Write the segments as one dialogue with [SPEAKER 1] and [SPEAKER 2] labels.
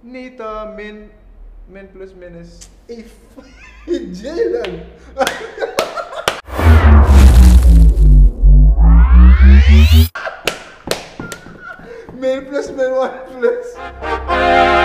[SPEAKER 1] Niet eh, min, min plus minus.
[SPEAKER 2] If Jalen. Min plus min one plus.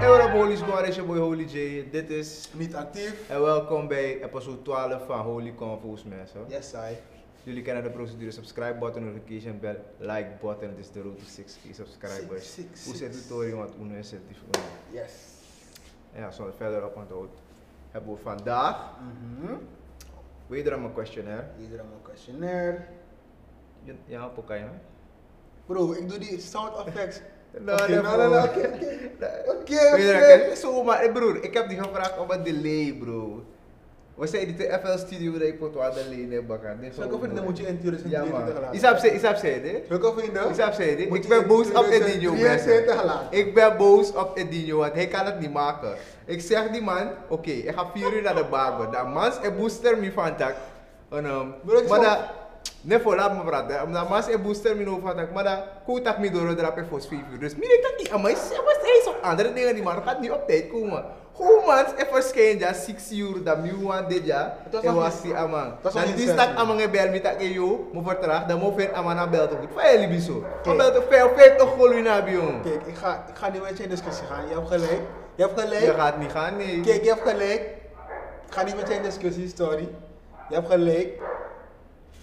[SPEAKER 1] Hey, what up, Holy Squad? It's your boy Holy J. Dit is.
[SPEAKER 2] Niet actief.
[SPEAKER 1] En welkom bij episode 12 van Holy Convo's, mensen.
[SPEAKER 2] Yes, I.
[SPEAKER 1] Jullie kennen de procedure: subscribe button, notification bell, like button. Het is de road to 6k subscribers.
[SPEAKER 2] Six, six,
[SPEAKER 1] Hoe zit
[SPEAKER 2] six.
[SPEAKER 1] het door, want Uno is het die voor Uno.
[SPEAKER 2] Yes.
[SPEAKER 1] En Ja, zonder verder op onthoud. Hebben we vandaag
[SPEAKER 2] Mhm.
[SPEAKER 1] wederom een questionnaire.
[SPEAKER 2] Hier dan mijn questionnaire.
[SPEAKER 1] Je- Ja, op elkaar, hè?
[SPEAKER 2] Bro, ik doe die sound effects.
[SPEAKER 1] No,
[SPEAKER 2] Oké,
[SPEAKER 1] no,
[SPEAKER 2] no, no, no,
[SPEAKER 1] bro.
[SPEAKER 2] oké, oké.
[SPEAKER 1] Nee.
[SPEAKER 2] Oké,
[SPEAKER 1] Wederom,
[SPEAKER 2] oké.
[SPEAKER 1] kijk, Zo, maar eh, broer, ik heb die gevraagd om een delay, bro. We zijn in de FL studio, dat ik moet wat delay nemen.
[SPEAKER 2] Zulke vrienden moet je in 2023
[SPEAKER 1] Ja, man.
[SPEAKER 2] laten.
[SPEAKER 1] Isap zei, Isap zei dit.
[SPEAKER 2] Zulke vrienden.
[SPEAKER 1] Isap zei dit.
[SPEAKER 2] nou? moet
[SPEAKER 1] Ik
[SPEAKER 2] je
[SPEAKER 1] ben
[SPEAKER 2] in
[SPEAKER 1] boos op Edinho,
[SPEAKER 2] 2023
[SPEAKER 1] mensen.
[SPEAKER 2] laten.
[SPEAKER 1] Ik ben boos op Edinho, want hij kan het niet maken. Ik zeg die man, oké, ik ga vier uur naar de barber. Dat man is een booster me van tak. En, ehm,
[SPEAKER 2] Bro, ik
[SPEAKER 1] maar
[SPEAKER 2] zou-
[SPEAKER 1] dat... Nee, voor laat me praten. Omdat man is een booster me van tak. Maar dat koot ik me door de drap voor vijf uur. Dus meer dat niet. Maar hij is- hij is op andere dingen die man gaat niet op tijd komen. Hoe man is verschijnen dat 6 uur, dat miljoen dit jaar.
[SPEAKER 2] Het was
[SPEAKER 1] En
[SPEAKER 2] nog
[SPEAKER 1] was
[SPEAKER 2] niet-
[SPEAKER 1] die ah, amang.
[SPEAKER 2] Dat is nog
[SPEAKER 1] Dan
[SPEAKER 2] niet
[SPEAKER 1] die
[SPEAKER 2] zes
[SPEAKER 1] staat
[SPEAKER 2] uur.
[SPEAKER 1] amang e bel mi tak e yo, mo vertraag, dan mo ver amana bel te goed. Fai libi so.
[SPEAKER 2] Oké.
[SPEAKER 1] Mo bel te ver, ver toch gol u na bi yon.
[SPEAKER 2] Kijk, ik ga, ik ga niet met je in discussie gaan. Je hebt gelijk. Je hebt gelijk.
[SPEAKER 1] Je gaat niet gaan, nee.
[SPEAKER 2] Kijk, je hebt gelijk. Ik ga niet met je in discussie, sorry. Je hebt gelijk.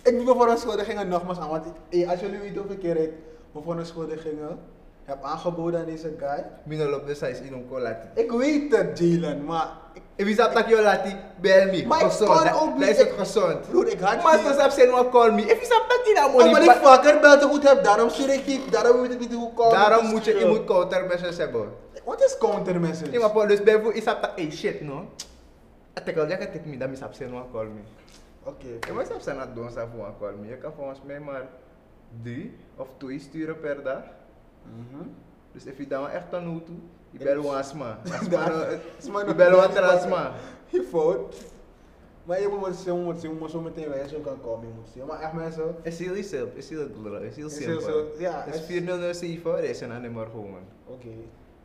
[SPEAKER 2] Ik doe me verontschuldigingen nogmaals aan, want ik- eh, als jullie weten hoeveel keer ik me verontschuldigingen heb aangeboden aan deze guy.
[SPEAKER 1] Mi no lop de size in onko lati.
[SPEAKER 2] Ik weet het, Jalen, maar ik,
[SPEAKER 1] E vi zap tak yo lati, bel mi.
[SPEAKER 2] Maar ik
[SPEAKER 1] Gezond,
[SPEAKER 2] kon
[SPEAKER 1] dat-
[SPEAKER 2] ook
[SPEAKER 1] Dat
[SPEAKER 2] niet-
[SPEAKER 1] is het
[SPEAKER 2] ik-
[SPEAKER 1] gezond.
[SPEAKER 2] broer, ik had
[SPEAKER 1] Maar
[SPEAKER 2] niet-
[SPEAKER 1] als ap sen wan call mi, e vi zap tak di na money.
[SPEAKER 2] omdat ik
[SPEAKER 1] pa-
[SPEAKER 2] vaker bel te goed heb, daarom stuur ik niet, daarom weet ik niet hoe komen.
[SPEAKER 1] Daarom moet je, je moet counter message hebben.
[SPEAKER 2] Wat is counter message?
[SPEAKER 1] Nee, maar Paul, dus bijvoorbeeld, is e zap tak, hey shit non? no. Atek al jaka tek mi, dan mi zap sen wan call mi. E
[SPEAKER 2] Oké.
[SPEAKER 1] Je moet zelfs aan het doen zelf voor een call me. Je kan volgens mij maar drie of twee sturen per dag.
[SPEAKER 2] Mhm.
[SPEAKER 1] Dus als je dan echt aan hoe toe, je
[SPEAKER 2] Ja.
[SPEAKER 1] belt wel asma.
[SPEAKER 2] Daar-
[SPEAKER 1] Asma,
[SPEAKER 2] Asma
[SPEAKER 1] je
[SPEAKER 2] nog-
[SPEAKER 1] belt wat
[SPEAKER 2] daar-
[SPEAKER 1] asma.
[SPEAKER 2] Je fout. Maar je moet zo, moet zo, moet zo meteen wijzen, je kan komen, je moet zien. Maar echt mensen,
[SPEAKER 1] Het is heel simpel, het is heel belangrijk, het is heel
[SPEAKER 2] Het is heel
[SPEAKER 1] simpel.
[SPEAKER 2] zo- ja,
[SPEAKER 1] Het
[SPEAKER 2] het
[SPEAKER 1] is
[SPEAKER 2] is-
[SPEAKER 1] 4007, dat is een nummer gewoon.
[SPEAKER 2] oké.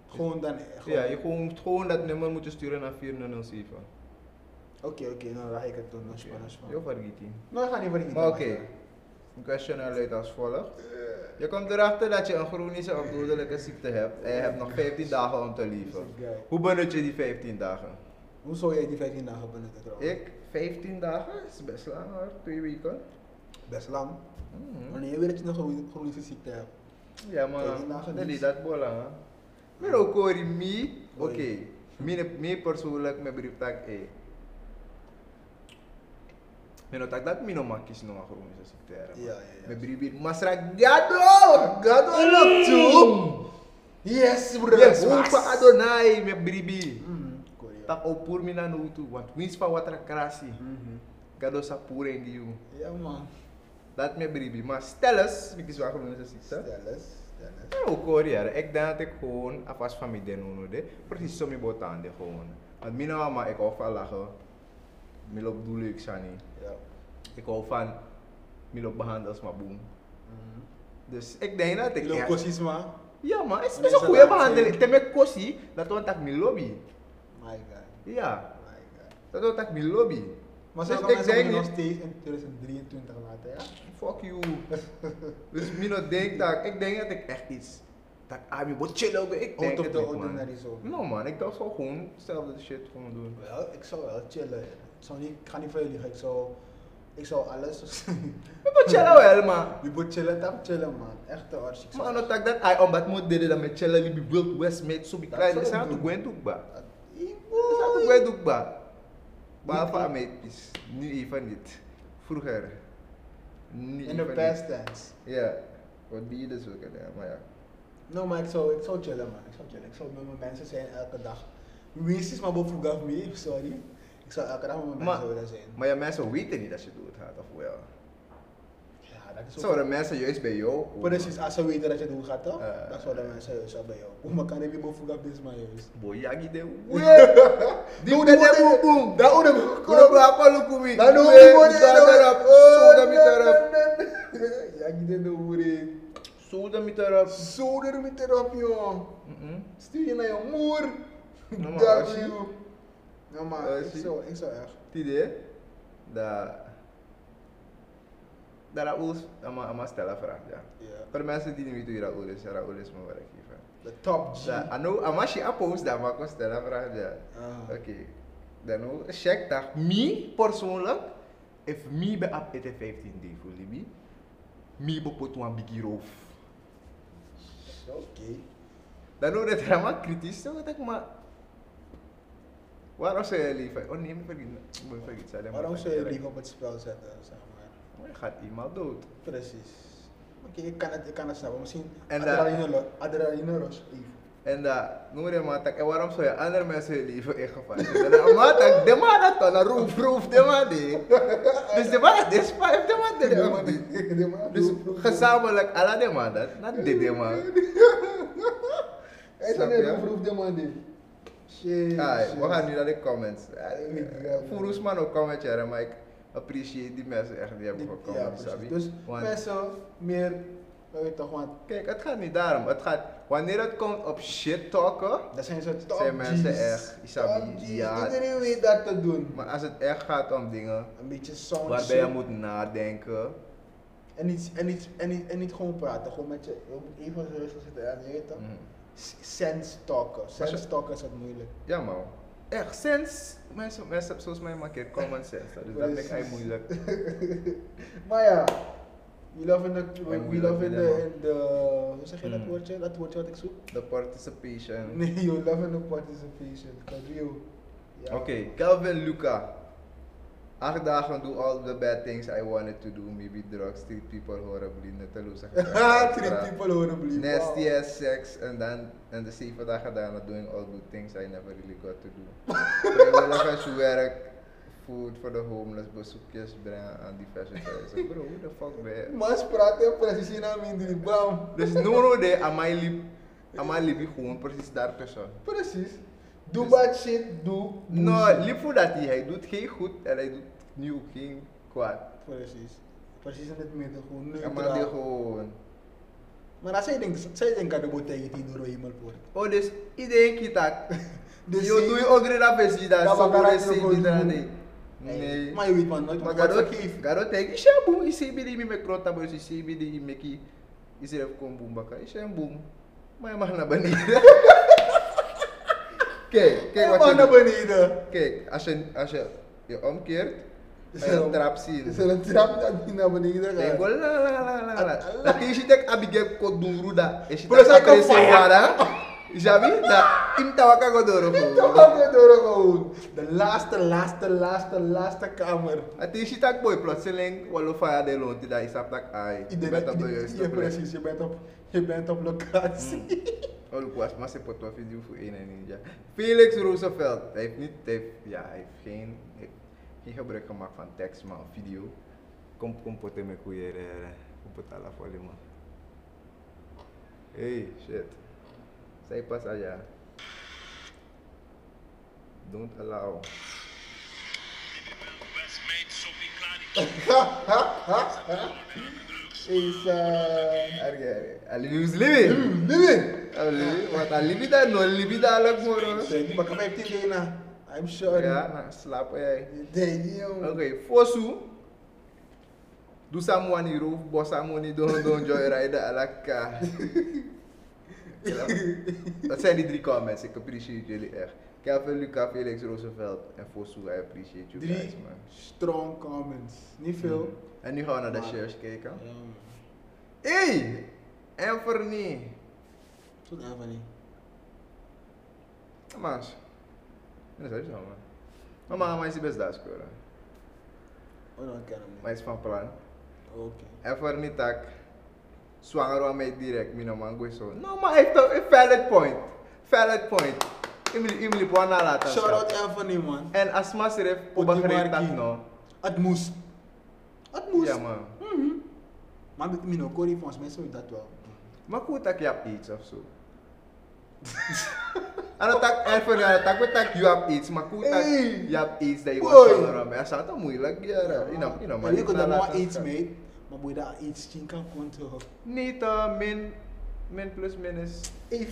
[SPEAKER 2] Gewoon dan. gewoon-
[SPEAKER 1] Ja, je gewoon, moet gewoon dat nummer moet je sturen naar 4007.
[SPEAKER 2] Oké, oké, nou dan ga ik het doen. Okay.
[SPEAKER 1] Ja,
[SPEAKER 2] Spannend,
[SPEAKER 1] Je
[SPEAKER 2] spannend.
[SPEAKER 1] vergeet die.
[SPEAKER 2] Nou, ik ga niet voor die
[SPEAKER 1] Maar oké, een questionnaire luidt als volgt. Je komt erachter dat je een chronische of dodelijke ziekte hebt en je hebt nog 15 dagen om te leven. Hoe benut je die 15 dagen?
[SPEAKER 2] Hoe zou jij die 15 dagen benutten trouwens?
[SPEAKER 1] Ik, 15 dagen is best lang hoor, twee weken.
[SPEAKER 2] Best lang.
[SPEAKER 1] Mhm.
[SPEAKER 2] Wanneer je weet dat je nog een chronische ziekte hebt.
[SPEAKER 1] Ja, maar
[SPEAKER 2] 15 dagen
[SPEAKER 1] dat is
[SPEAKER 2] niet.
[SPEAKER 1] dat bola. Maar ook hoor je me,
[SPEAKER 2] Oei.
[SPEAKER 1] oké, Mijn- mij persoonlijk, mijn brief tak E. Mijn tak dat mijn oma kies nog een chronische ziekte. hè, man.
[SPEAKER 2] Ja, ja, ja.
[SPEAKER 1] Mijn brief hier, masra gado, gado look toe.
[SPEAKER 2] Yes, bro.
[SPEAKER 1] Je hoeft Adonai, mijn brief.
[SPEAKER 2] Mhm, Korea.
[SPEAKER 1] Tak opur mina nu toe, want winst van wat er krasi.
[SPEAKER 2] Mhm.
[SPEAKER 1] Gado sa poeren die jong.
[SPEAKER 2] Ja, man.
[SPEAKER 1] Dat me bribi. Maar stel eens, ik is waar gewoon een ziekte.
[SPEAKER 2] Stel eens, stel eens.
[SPEAKER 1] Ja, ook hoor Nou, ja. Ik denk dat ik gewoon afwas van mijn denono de. Precies zo mijn botande gewoon. Want mijn mama, ik hou van lachen. Mijn loop doe leuk, Shani.
[SPEAKER 2] Ja.
[SPEAKER 1] Ik hou van mijn loop behandelen als maar boem.
[SPEAKER 2] Mhm.
[SPEAKER 1] Dus ik denk dat ik...
[SPEAKER 2] Ilo
[SPEAKER 1] echt-
[SPEAKER 2] Kosisma.
[SPEAKER 1] Ja, maar het is- het
[SPEAKER 2] Mensen
[SPEAKER 1] is een goede
[SPEAKER 2] laten-
[SPEAKER 1] behandeling. Temme kosi, dat want ik mijn lobby.
[SPEAKER 2] My god,
[SPEAKER 1] Ja,
[SPEAKER 2] my god.
[SPEAKER 1] dat want ik mijn lobby.
[SPEAKER 2] Maar
[SPEAKER 1] Dus
[SPEAKER 2] zelfs
[SPEAKER 1] ik
[SPEAKER 2] mensen
[SPEAKER 1] denk
[SPEAKER 2] moeten nog
[SPEAKER 1] niet-
[SPEAKER 2] steeds in 2023 laten, ja?
[SPEAKER 1] Fuck you. dus mijn no denk dat ik denk dat ik echt iets... Dat ik aan mijn bot chillen. Ik denk
[SPEAKER 2] Out of
[SPEAKER 1] het
[SPEAKER 2] the
[SPEAKER 1] niet, man.
[SPEAKER 2] ordinary zo.
[SPEAKER 1] Nou man, ik dacht zo gewoon hetzelfde shit gewoon doen.
[SPEAKER 2] Wel, ik zou wel chillen. Ik zou niet, ik ga niet voor jullie liegen. Ik zou, ik zou alles.
[SPEAKER 1] Ik wil chillen wel man.
[SPEAKER 2] Je moet chillen, tap chillen man. Echt de arts. Ik zou-
[SPEAKER 1] Maar aan de dag dat hij omdat moet deden dat met chillen liep wild west met zo
[SPEAKER 2] Dat
[SPEAKER 1] bekleid.
[SPEAKER 2] zou
[SPEAKER 1] Dat zijn
[SPEAKER 2] ik
[SPEAKER 1] toch
[SPEAKER 2] doen.
[SPEAKER 1] gwen doek ba.
[SPEAKER 2] Dat-
[SPEAKER 1] Dat zijn toch
[SPEAKER 2] Oei.
[SPEAKER 1] gwen doek ba. Behalve aan mij is nu even niet. Vroeger. Nu
[SPEAKER 2] In de
[SPEAKER 1] even
[SPEAKER 2] past tense.
[SPEAKER 1] niet. Ja. Wat ben je dus ook gedaan, maar ja.
[SPEAKER 2] No, maar ik zou, ik zou chillen man. Ik zou chillen. Ik zou met mijn mensen zijn elke dag. Wees is maar boven vroeg af me, sorry. Ik zou elke dag met mijn
[SPEAKER 1] Maar-
[SPEAKER 2] mensen willen zijn.
[SPEAKER 1] Maar ja, mensen weten niet dat je doodgaat of wel.
[SPEAKER 2] Ja, dat is ook.
[SPEAKER 1] Zouden mensen juist bij jou komen.
[SPEAKER 2] Precies, als ze weten dat je het hoe gaat toch?
[SPEAKER 1] Eh.
[SPEAKER 2] dat zouden mensen juist al bij jou. Hoe maar kan ik niet boven vroeg af deze man juist?
[SPEAKER 1] Boy, ja, die de weer. Die moet de boom boom.
[SPEAKER 2] Daar hoe de
[SPEAKER 1] Kuro berapa lu kumi?
[SPEAKER 2] Lalu
[SPEAKER 1] Duit,
[SPEAKER 2] boleh
[SPEAKER 1] bukan
[SPEAKER 2] dah.
[SPEAKER 1] terap.
[SPEAKER 2] Oh,
[SPEAKER 1] Sudah
[SPEAKER 2] no,
[SPEAKER 1] diterap.
[SPEAKER 2] no, no, no. ja, ik deed de hoering.
[SPEAKER 1] Zo dan met erop.
[SPEAKER 2] Zo er met erop, joh.
[SPEAKER 1] Mhm.
[SPEAKER 2] Stuur je naar je moer.
[SPEAKER 1] Ja, maar,
[SPEAKER 2] Dag,
[SPEAKER 1] als je-
[SPEAKER 2] joh. Ja, maar
[SPEAKER 1] Als
[SPEAKER 2] ik
[SPEAKER 1] je-
[SPEAKER 2] zou, ik zou echt.
[SPEAKER 1] Het idee dat. dat Raoul ama, ama stella vraag, ja.
[SPEAKER 2] Ja.
[SPEAKER 1] Voor mensen die niet weten wie Raoul is, ja, Raoul is mijn werkgever.
[SPEAKER 2] De top G.
[SPEAKER 1] Da, ano, ama si apos da ma ko stella vraag, ja.
[SPEAKER 2] Ah.
[SPEAKER 1] Oké. Dan ook, anu, check dat. Me, persoonlijk, if me be op het 15 day voor Libi, me be put one biggie roof.
[SPEAKER 2] Oké.
[SPEAKER 1] Dan ook dat er allemaal kritisch zo, dat ik maar. Waarom zou je leven? Oh nee, ik vergeet ik moet vergeten, zei hij, maar
[SPEAKER 2] Waarom
[SPEAKER 1] van
[SPEAKER 2] zou je
[SPEAKER 1] direct.
[SPEAKER 2] die op het spel zetten, zeg maar?
[SPEAKER 1] Maar je gaat iemand dood.
[SPEAKER 2] Precies. Oké, ik kan het, ik kan het snappen. Misschien
[SPEAKER 1] En, eh,
[SPEAKER 2] adrenaline ru- adrenaline rush even.
[SPEAKER 1] En dat, noem je maar tak. En waarom zou je andere mensen je leven in gevaar zetten? Dan maar tak, de man dat dan, roef, roef, de man die. Dus de man dat is vijf, de man die, de man die.
[SPEAKER 2] De man
[SPEAKER 1] Dus
[SPEAKER 2] doet- doet-
[SPEAKER 1] gezamenlijk, alla de man dat, dat dit de man.
[SPEAKER 2] Hij is
[SPEAKER 1] Snap
[SPEAKER 2] een
[SPEAKER 1] je?
[SPEAKER 2] hele vroeg de man dit. Shit.
[SPEAKER 1] Ai, we gaan nu naar de comments. Eh,
[SPEAKER 2] Ik
[SPEAKER 1] eh,
[SPEAKER 2] wel.
[SPEAKER 1] Voor ons man ook comment, jaren, maar ik appreciate die mensen echt die hebben
[SPEAKER 2] Die-
[SPEAKER 1] gekomen.
[SPEAKER 2] Ja, precies.
[SPEAKER 1] sabi?
[SPEAKER 2] Dus
[SPEAKER 1] Want-
[SPEAKER 2] mensen meer, weet je toch, want
[SPEAKER 1] Kijk, het gaat niet daarom. Het gaat, wanneer het komt op shit talken,
[SPEAKER 2] dat zijn ze top
[SPEAKER 1] Zijn mensen
[SPEAKER 2] G's.
[SPEAKER 1] echt, Isabi,
[SPEAKER 2] Top G's.
[SPEAKER 1] ja.
[SPEAKER 2] Iedereen weet dat te doen.
[SPEAKER 1] maar als het echt gaat om dingen
[SPEAKER 2] Een beetje sound
[SPEAKER 1] waarbij
[SPEAKER 2] Oh, shit.
[SPEAKER 1] je moet nadenken,
[SPEAKER 2] En niet, en, niet, en, niet, en niet gewoon praten, gewoon met je, je moet even rustig zitten en je weet toch.
[SPEAKER 1] mm,
[SPEAKER 2] S- Sense talken. Sense talken is het moeilijk.
[SPEAKER 1] Ja, man. Echt, sense. Mensen, mensen zoals mij maken common sense. Dus dat vind ik eigenlijk moeilijk.
[SPEAKER 2] Maar ja, we love in de, we,
[SPEAKER 1] Mijn
[SPEAKER 2] love
[SPEAKER 1] moeder,
[SPEAKER 2] in de, in de, hoe zeg je dat
[SPEAKER 1] Mm.
[SPEAKER 2] woordje, dat woordje wat ik zoek?
[SPEAKER 1] De participation.
[SPEAKER 2] Nee, you love in the participation, Kadrio.
[SPEAKER 1] Oké, Calvin Luca. Acht dagen doe all the bad things I wanted to do. Maybe drugs, treat people horribly, netteloze
[SPEAKER 2] Haha, treat people horribly.
[SPEAKER 1] Nasty
[SPEAKER 2] wow.
[SPEAKER 1] ass sex en dan en de zeven dagen daarna doing all good things I never really got to do. Vrijwilligerswerk, werk, food for the homeless, bezoekjes brengen aan diverse thuizen. Bro, hoe de fuck ben je?
[SPEAKER 2] Mas praten precies in Amindri, bam.
[SPEAKER 1] Dus Noro de Amai liep, Amai liep hier gewoon precies daartussen.
[SPEAKER 2] Precies. Doe
[SPEAKER 1] Dus-
[SPEAKER 2] bad shit, doe
[SPEAKER 1] No, liep voor dat hij, hij doet geen goed en hij doet nu ook geen kwaad.
[SPEAKER 2] Precies. Precies in het midden, gewoon
[SPEAKER 1] Amai die
[SPEAKER 2] neutraal.
[SPEAKER 1] gewoon.
[SPEAKER 2] Maar als zij denkt, zij denkt dat de boete je die door iemand wordt.
[SPEAKER 1] Oh, dus iedereen kita.
[SPEAKER 2] Dus
[SPEAKER 1] Dus je
[SPEAKER 2] zie-
[SPEAKER 1] doet ook geen rapjes die daar
[SPEAKER 2] Dat
[SPEAKER 1] zo
[SPEAKER 2] we elkaar
[SPEAKER 1] goed zijn, die daar
[SPEAKER 2] doen.
[SPEAKER 1] nee.
[SPEAKER 2] É.
[SPEAKER 1] Nee.
[SPEAKER 2] Maar je weet man, nooit
[SPEAKER 1] Maar
[SPEAKER 2] wat
[SPEAKER 1] garoto,
[SPEAKER 2] vergeef.
[SPEAKER 1] garoto, isso é bom. Isso é bem me crota, mas isso é bem de me que isso é com bom baka. Isso é bom. Mas mas na banheira. Kijk, kijk
[SPEAKER 2] Kijk
[SPEAKER 1] wat je
[SPEAKER 2] maar naar
[SPEAKER 1] doet.
[SPEAKER 2] beneden.
[SPEAKER 1] Kijk, als je als je je omkeert,
[SPEAKER 2] Is
[SPEAKER 1] ga je
[SPEAKER 2] er
[SPEAKER 1] een
[SPEAKER 2] een-
[SPEAKER 1] trap
[SPEAKER 2] Is
[SPEAKER 1] zien.
[SPEAKER 2] er een trap dat die naar beneden
[SPEAKER 1] Kijk,
[SPEAKER 2] gaat?
[SPEAKER 1] la la la la la. Dat is je tek abige koduru da. Is je
[SPEAKER 2] Bro,
[SPEAKER 1] tek
[SPEAKER 2] zij kan
[SPEAKER 1] apresi
[SPEAKER 2] fire.
[SPEAKER 1] wara. Javi, da imtawaka godoro.
[SPEAKER 2] Toch gaat weer door gewoon. De laatste, laatste, laatste, laatste kamer.
[SPEAKER 1] Het is je tek boy plotseling walo fire de lonti da isap tak ai. Je bent op de juiste
[SPEAKER 2] je,
[SPEAKER 1] plek.
[SPEAKER 2] precies, je bent op, je bent op locatie.
[SPEAKER 1] Olha, o Asma se portou a vídeo voor één en ninja. Felix Roosevelt, hij heeft niet, hij heeft, ja, e hij heeft geen, hij heeft geen gebruik gemaakt van tekst, maar video. Kom, kom, pote me koeier, kom, pote la folie, man. Hey, shit. Zij pas allá. Don't allow.
[SPEAKER 3] Best mate, zo klaar.
[SPEAKER 2] Is eh.
[SPEAKER 1] Erger, alibi is
[SPEAKER 2] uh,
[SPEAKER 1] living.
[SPEAKER 2] Living!
[SPEAKER 1] Alibi, wat alibi daar, no alibi daar, lak moro.
[SPEAKER 2] Zeg, die bakken 15 dagen na. I'm sure.
[SPEAKER 1] Ja, nou, slaap jij.
[SPEAKER 2] Damn.
[SPEAKER 1] Ok, Fosu. Do someone you roof, boss someone you don't, don't joy rider à la car. Dat zijn die drie comments, ik appreciate jullie echt. Kevin, Luca, Felix, Roosevelt en Fosu, I appreciate you guys
[SPEAKER 2] Drie
[SPEAKER 1] man.
[SPEAKER 2] strong comments. Niet veel.
[SPEAKER 1] En nu gaan we naar de
[SPEAKER 2] Maar-
[SPEAKER 1] shares kijken.
[SPEAKER 2] Ja, man.
[SPEAKER 1] Hey! Anthony!
[SPEAKER 2] Tot Anthony.
[SPEAKER 1] Mas. Dat is zo man. Maar mama is de best daar scoren.
[SPEAKER 2] Oh, no, ik ken hem niet.
[SPEAKER 1] Maar is van plan.
[SPEAKER 2] Oké.
[SPEAKER 1] Anthony tak. Zwanger was mij direct, mijn man gooi zo. Nou, maar hij heeft een een eh, valid point. Valid point. Ik wil gewoon naar laten
[SPEAKER 2] Shout
[SPEAKER 1] staan.
[SPEAKER 2] out Anthony, man.
[SPEAKER 1] En als Masref
[SPEAKER 2] Put die
[SPEAKER 1] begreep dat
[SPEAKER 2] markie.
[SPEAKER 1] nou.
[SPEAKER 2] Het moest. Het moest.
[SPEAKER 1] Ja, man.
[SPEAKER 2] Maar met Mino Corrie, volgens mij zou je dat wel.
[SPEAKER 1] Maar goed dat je hebt iets of zo. En dat tak eh, Anthony, en dat tak we tak je hebt iets. Maar goed dat
[SPEAKER 2] Hey.
[SPEAKER 1] je hebt iets dat je was
[SPEAKER 2] Boy.
[SPEAKER 1] ya, zwanger was. Dat is altijd moeilijk, ja. Je nou- je nou maar
[SPEAKER 2] En ik
[SPEAKER 1] niet
[SPEAKER 2] kon er
[SPEAKER 1] naar
[SPEAKER 2] nog
[SPEAKER 1] laten
[SPEAKER 2] iets
[SPEAKER 1] staan.
[SPEAKER 2] mee. Maar boy, daar iets zien kan gewoon toch.
[SPEAKER 1] Niet eh, min, min plus min is.
[SPEAKER 2] Hey,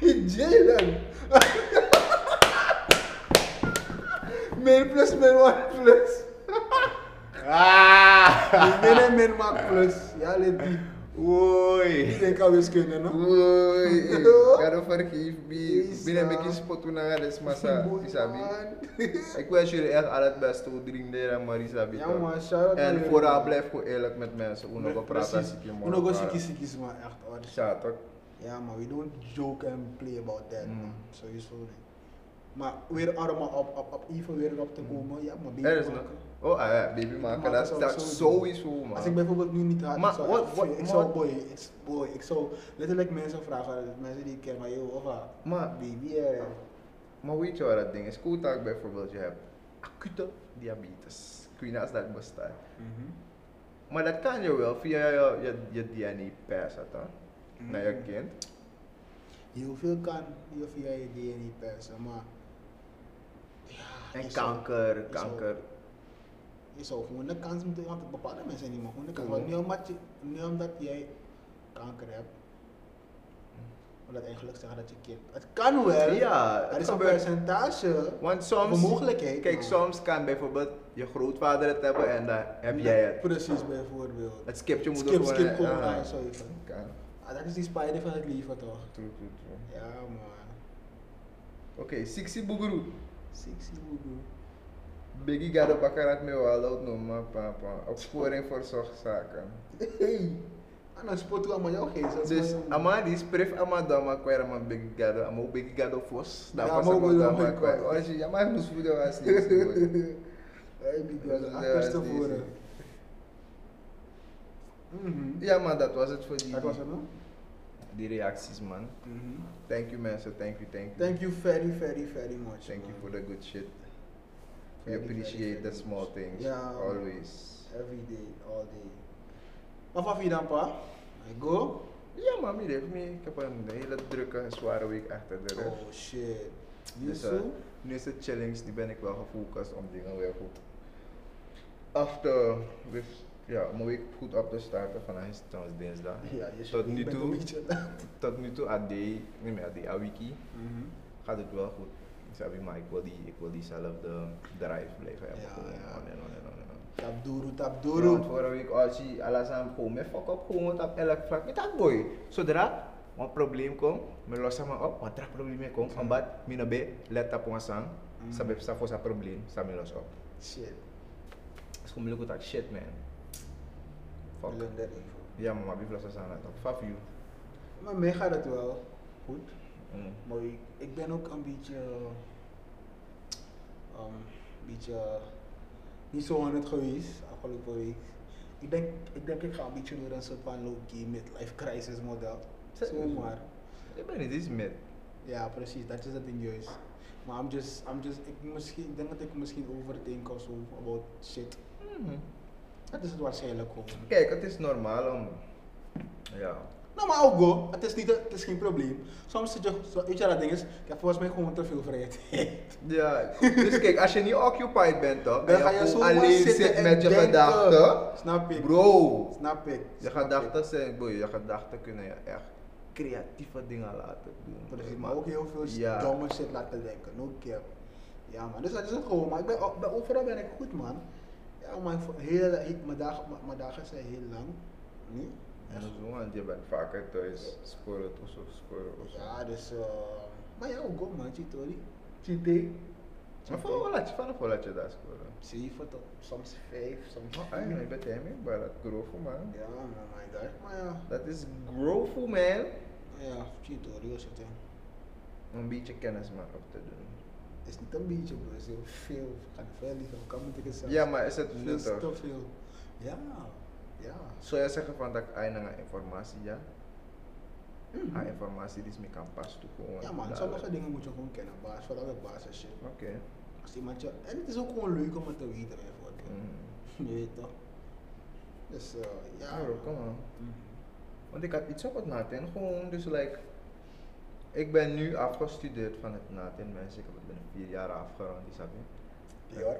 [SPEAKER 2] Jalen! min plus min wordt plus. Ah! Min en min maakt plus. Ja, let die.
[SPEAKER 1] Oei.
[SPEAKER 2] Ik denk aan wiskunde, no?
[SPEAKER 1] Oei. Karo vergeef me.
[SPEAKER 2] Isa.
[SPEAKER 1] Binnen een beetje spot toen aan is massa.
[SPEAKER 2] Boy,
[SPEAKER 1] Isabi.
[SPEAKER 2] man.
[SPEAKER 1] Ik wens jullie echt al het beste. Hoe drink de Marie Isabi.
[SPEAKER 2] Ja, man, shout-out aan
[SPEAKER 1] En
[SPEAKER 2] jullie,
[SPEAKER 1] vooral
[SPEAKER 2] man.
[SPEAKER 1] blijf gewoon eerlijk met mensen. Hoe nog we praten als
[SPEAKER 2] Precies.
[SPEAKER 1] ik je
[SPEAKER 2] Uno go siki siki's, man. Echt, hoor.
[SPEAKER 1] Ja, toch?
[SPEAKER 2] Ja, maar we don't joke and play about that,
[SPEAKER 1] Mm.
[SPEAKER 2] man. Sowieso niet. Maar weer allemaal op, op, op even weer op te komen. Ja, maar
[SPEAKER 1] Er is
[SPEAKER 2] baby
[SPEAKER 1] nog.
[SPEAKER 2] maken.
[SPEAKER 1] Oh, ah, ja, baby maken. Dat is-
[SPEAKER 2] zou
[SPEAKER 1] dat
[SPEAKER 2] ik
[SPEAKER 1] is
[SPEAKER 2] sowieso doen.
[SPEAKER 1] sowieso, man.
[SPEAKER 2] Als ik bijvoorbeeld nu niet had,
[SPEAKER 1] Maar
[SPEAKER 2] ik zou,
[SPEAKER 1] wat-
[SPEAKER 2] echt
[SPEAKER 1] wat-
[SPEAKER 2] veel- ik zou
[SPEAKER 1] maar-
[SPEAKER 2] boy, ik, s- boy, ik zou letterlijk mensen vragen, mensen die ik ken, maar joh, of wat,
[SPEAKER 1] Maar-
[SPEAKER 2] baby, eh,
[SPEAKER 1] Maar weet je wat dat ding is? Koeltaak bijvoorbeeld, je hebt acute diabetes. Ik weet niet als dat bestaat. Mm-hmm. Maar dat kan je wel via je, je, je DNA passen, toch?
[SPEAKER 2] Mm.
[SPEAKER 1] Naar je kind.
[SPEAKER 2] heel veel kan hier via je DNA persen, maar
[SPEAKER 1] En
[SPEAKER 2] is zo.
[SPEAKER 1] kanker,
[SPEAKER 2] zo.
[SPEAKER 1] kanker.
[SPEAKER 2] je zou gewoon de kans moeten, want bepaalde mensen niet, maar gewoon de kans.
[SPEAKER 1] Mhm.
[SPEAKER 2] Want niet omdat, je, niet omdat jij kanker hebt, wil dat eigenlijk zeggen dat je kind, het kan wel,
[SPEAKER 1] Ja,
[SPEAKER 2] er
[SPEAKER 1] het
[SPEAKER 2] is een
[SPEAKER 1] gebeurt.
[SPEAKER 2] percentage,
[SPEAKER 1] Want
[SPEAKER 2] een
[SPEAKER 1] soms,
[SPEAKER 2] mogelijkheid.
[SPEAKER 1] kijk,
[SPEAKER 2] maar-
[SPEAKER 1] soms kan bijvoorbeeld je grootvader het hebben en dan heb jij het.
[SPEAKER 2] Precies, bijvoorbeeld.
[SPEAKER 1] Het skipt je moeder
[SPEAKER 2] Skip,
[SPEAKER 1] gewoon.
[SPEAKER 2] skip, gewoon,
[SPEAKER 1] ja.
[SPEAKER 2] ah, zo even.
[SPEAKER 1] Kan.
[SPEAKER 2] Ah, dat is die spider van het leven toch?
[SPEAKER 1] True, true, true.
[SPEAKER 2] Ja man.
[SPEAKER 1] Oké, Sixi Boegeroe.
[SPEAKER 2] Sexy woedoe.
[SPEAKER 1] Biggie gaat op elkaar uit mijn wallet noemen, papa. Opsporing voor zorgzaken.
[SPEAKER 2] Hey! En dan spot u allemaal jouw geest. dat is
[SPEAKER 1] Dus
[SPEAKER 2] maar-
[SPEAKER 1] ama di spref ama dama kwera ama big gado ama u big gado fos da
[SPEAKER 2] Ja,
[SPEAKER 1] fos
[SPEAKER 2] ama
[SPEAKER 1] ama
[SPEAKER 2] u
[SPEAKER 1] dama
[SPEAKER 2] dama
[SPEAKER 1] kwera.
[SPEAKER 2] kwera.
[SPEAKER 1] Oji ama nu sudo as ni.
[SPEAKER 2] é
[SPEAKER 1] sudo.
[SPEAKER 2] Hey, big
[SPEAKER 1] Dat
[SPEAKER 2] brother.
[SPEAKER 1] is-
[SPEAKER 2] Achter
[SPEAKER 1] dat is
[SPEAKER 2] tevoren.
[SPEAKER 1] easy.
[SPEAKER 2] Mhm.
[SPEAKER 1] Ja man, dat was het voor die,
[SPEAKER 2] Dat was het nog?
[SPEAKER 1] die reacties man.
[SPEAKER 2] Mhm.
[SPEAKER 1] Thank you mensen, thank you, thank you.
[SPEAKER 2] Thank you very, very, very much.
[SPEAKER 1] Thank you
[SPEAKER 2] man.
[SPEAKER 1] for the good shit. We
[SPEAKER 2] Very, very,
[SPEAKER 1] appreciate
[SPEAKER 2] very
[SPEAKER 1] the
[SPEAKER 2] much.
[SPEAKER 1] small things
[SPEAKER 2] Ja, man.
[SPEAKER 1] always.
[SPEAKER 2] Every day, all day. Wat van je dan, pa? I go?
[SPEAKER 1] Ja man, me me. Ik heb een hele drukke en zware week achter de rug.
[SPEAKER 2] Oh shit.
[SPEAKER 1] Dus
[SPEAKER 2] Yusu?
[SPEAKER 1] eh, nu is het challenge, die ben ik wel gefocust om dingen weer goed af te, dus, ja, om een week goed op te starten. Vandaag is het trouwens dinsdag.
[SPEAKER 2] Ja, je
[SPEAKER 1] tot
[SPEAKER 2] je
[SPEAKER 1] nu
[SPEAKER 2] bent een
[SPEAKER 1] toe.
[SPEAKER 2] beetje laat.
[SPEAKER 1] Tot nu toe AD, nee maar AD, Awiki,
[SPEAKER 2] Mhm.
[SPEAKER 1] Uhum. gaat het wel goed. Ik zei, maar ik wil, die, ik wil diezelfde drive blijven hebben.
[SPEAKER 2] Ja,
[SPEAKER 1] gewoon
[SPEAKER 2] ja.
[SPEAKER 1] on en on en on en on.
[SPEAKER 2] Tapduru,
[SPEAKER 1] Ja, want
[SPEAKER 2] tapduru.
[SPEAKER 1] vorige week als je alles aan gewoon met fuck op, gewoon op elk vlak. Met dat boy. Zodra een probleem komt, me lossen me op, maar dat probleem komt, omdat ik niet ben, let op ons aan.
[SPEAKER 2] Mm.
[SPEAKER 1] Ze hebben voor zijn probleem, ze me los op.
[SPEAKER 2] Shit.
[SPEAKER 1] Het is gewoon moeilijk dat shit man. Iya. Fuck.
[SPEAKER 2] Blunder info.
[SPEAKER 1] Ja, maar maar wie lossen ze aan het op? Fuck you.
[SPEAKER 2] Maar mij gaat het wel goed.
[SPEAKER 1] Mm.
[SPEAKER 2] Maar ik, ik ben ook een beetje. ehm een beetje. niet zo aan het geweest afgelopen week. Ik denk, ik denk ik ga een beetje door een soort van low-key midlife crisis model.
[SPEAKER 1] Serieus?
[SPEAKER 2] Zomaar.
[SPEAKER 1] Ik ben niet eens met.
[SPEAKER 2] Ja, precies, dat is het ding juist. Maar I'm just, I'm just, ik, misschien, ik denk dat ik misschien overdenk of zo about shit.
[SPEAKER 1] Mhm.
[SPEAKER 2] Dat is het waarschijnlijk gewoon.
[SPEAKER 1] Kijk, het is normaal om. Ya. Ja.
[SPEAKER 2] Nou, maar ook go. Het is, niet, het is geen probleem. Soms zit je, zo- weet je wat dat ding is? Ik heb volgens mij gewoon te veel vrijheid.
[SPEAKER 1] Ja, dus kijk, als je niet occupied bent toch,
[SPEAKER 2] Dan
[SPEAKER 1] en
[SPEAKER 2] ga je
[SPEAKER 1] gewoon
[SPEAKER 2] zo
[SPEAKER 1] alleen zit met je gedachten,
[SPEAKER 2] Snap ik.
[SPEAKER 1] bro,
[SPEAKER 2] Snap ik.
[SPEAKER 1] Je
[SPEAKER 2] snap ik.
[SPEAKER 1] gedachten zijn, boy, je gedachten kunnen je echt creatieve dingen laten doen.
[SPEAKER 2] Precies,
[SPEAKER 1] boy.
[SPEAKER 2] maar ook heel veel
[SPEAKER 1] Ja.
[SPEAKER 2] domme shit laten denken. No cap. Ja man, dus dat is het gewoon. Maar ik ben, ben- overal ben ik goed man. Ja man, voor- heel, ik- mijn, dagen, mijn- mijn dagen zijn heel lang. Nu.
[SPEAKER 1] En zo, want je bent vaker thuis, scoren of zo, scoren of zo.
[SPEAKER 2] Ja, dus... eh, maar ja, ook go man, Chitori. Chinte.
[SPEAKER 1] Maar voor wat laat je, vanaf wat laat je daar scoren?
[SPEAKER 2] 7 tot soms 5, soms
[SPEAKER 1] Oh,
[SPEAKER 2] vier.
[SPEAKER 1] eigenlijk, ik ben hem, maar dat growth, man.
[SPEAKER 2] Ja, maar my god. Maar ja,
[SPEAKER 1] Dat is growth, man.
[SPEAKER 2] ja, Chitori was het hè.
[SPEAKER 1] Om een beetje kennis maar op te doen.
[SPEAKER 2] Het is niet een beetje, bro. Het is heel veel. Ik ga veel liever. Ik kan met ik zelf.
[SPEAKER 1] Ja, maar is het
[SPEAKER 2] Veel is
[SPEAKER 1] nuttig?
[SPEAKER 2] te veel. Ja, ja.
[SPEAKER 1] Zou je zeggen van dat ik eind aan informatie, ja? Aan informatie die is me kan pas toe gewoon.
[SPEAKER 2] Ja, man.
[SPEAKER 1] dadelijk.
[SPEAKER 2] Sommige dingen moet je gewoon kennen. Baas, vooral bij basis shit.
[SPEAKER 1] Oké.
[SPEAKER 2] Als iemand je... En het is ook gewoon leuk om het te weten, bijvoorbeeld.
[SPEAKER 1] Mm.
[SPEAKER 2] Je weet toch? Dus, eh, ja.
[SPEAKER 1] Ja, bro, kom maar.
[SPEAKER 2] Mhm.
[SPEAKER 1] Want ik had iets op het Natin, gewoon, dus like, ik ben nu afgestudeerd van het Natin, mensen. Ik heb het binnen vier jaar afgerond, die snap je?
[SPEAKER 2] Ja, hoor.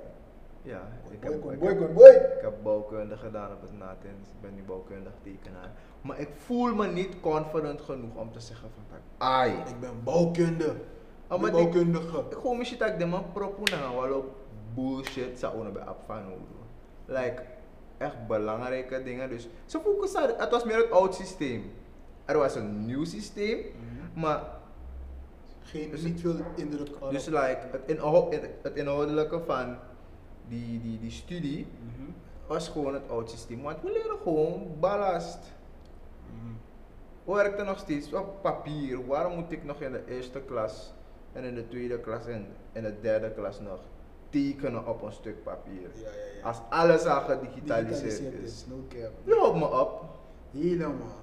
[SPEAKER 1] Ja, ik
[SPEAKER 2] Boy,
[SPEAKER 1] heb,
[SPEAKER 2] kom,
[SPEAKER 1] ik,
[SPEAKER 2] boy,
[SPEAKER 1] heb,
[SPEAKER 2] kom, boy.
[SPEAKER 1] ik heb bouwkunde gedaan op het NATIN. Ik ben nu bouwkundig tekenaar. Maar ik voel me niet confident genoeg om te zeggen van tak. Ai.
[SPEAKER 2] Ik ben bouwkunde.
[SPEAKER 1] Oh, maar
[SPEAKER 2] Oh,
[SPEAKER 1] die-
[SPEAKER 2] bouwkundige.
[SPEAKER 1] Ik gewoon misschien tak de man propuna gaan walau nou? bullshit sa ono bij afvang Like echt belangrijke dingen dus. Ze focussen, het was meer het oud systeem. Er was een nieuw systeem, maar
[SPEAKER 2] Geen,
[SPEAKER 1] Dus-
[SPEAKER 2] niet veel indruk. op-
[SPEAKER 1] Dus like, het, inhou- in- het inhoudelijke van die, die, die studie
[SPEAKER 2] Mhm.
[SPEAKER 1] was gewoon het oud systeem. Want we leren gewoon ballast.
[SPEAKER 2] Mhm.
[SPEAKER 1] We werkten nog steeds op papier. Waarom moet ik nog in de eerste klas en in de tweede klas en in de derde klas nog tekenen op een stuk papier?
[SPEAKER 2] Ja, ja, ja.
[SPEAKER 1] Als alles al
[SPEAKER 2] Digitaliseerd
[SPEAKER 1] gedigitaliseerd is.
[SPEAKER 2] is, no cap.
[SPEAKER 1] Je houdt me op.
[SPEAKER 2] Helemaal.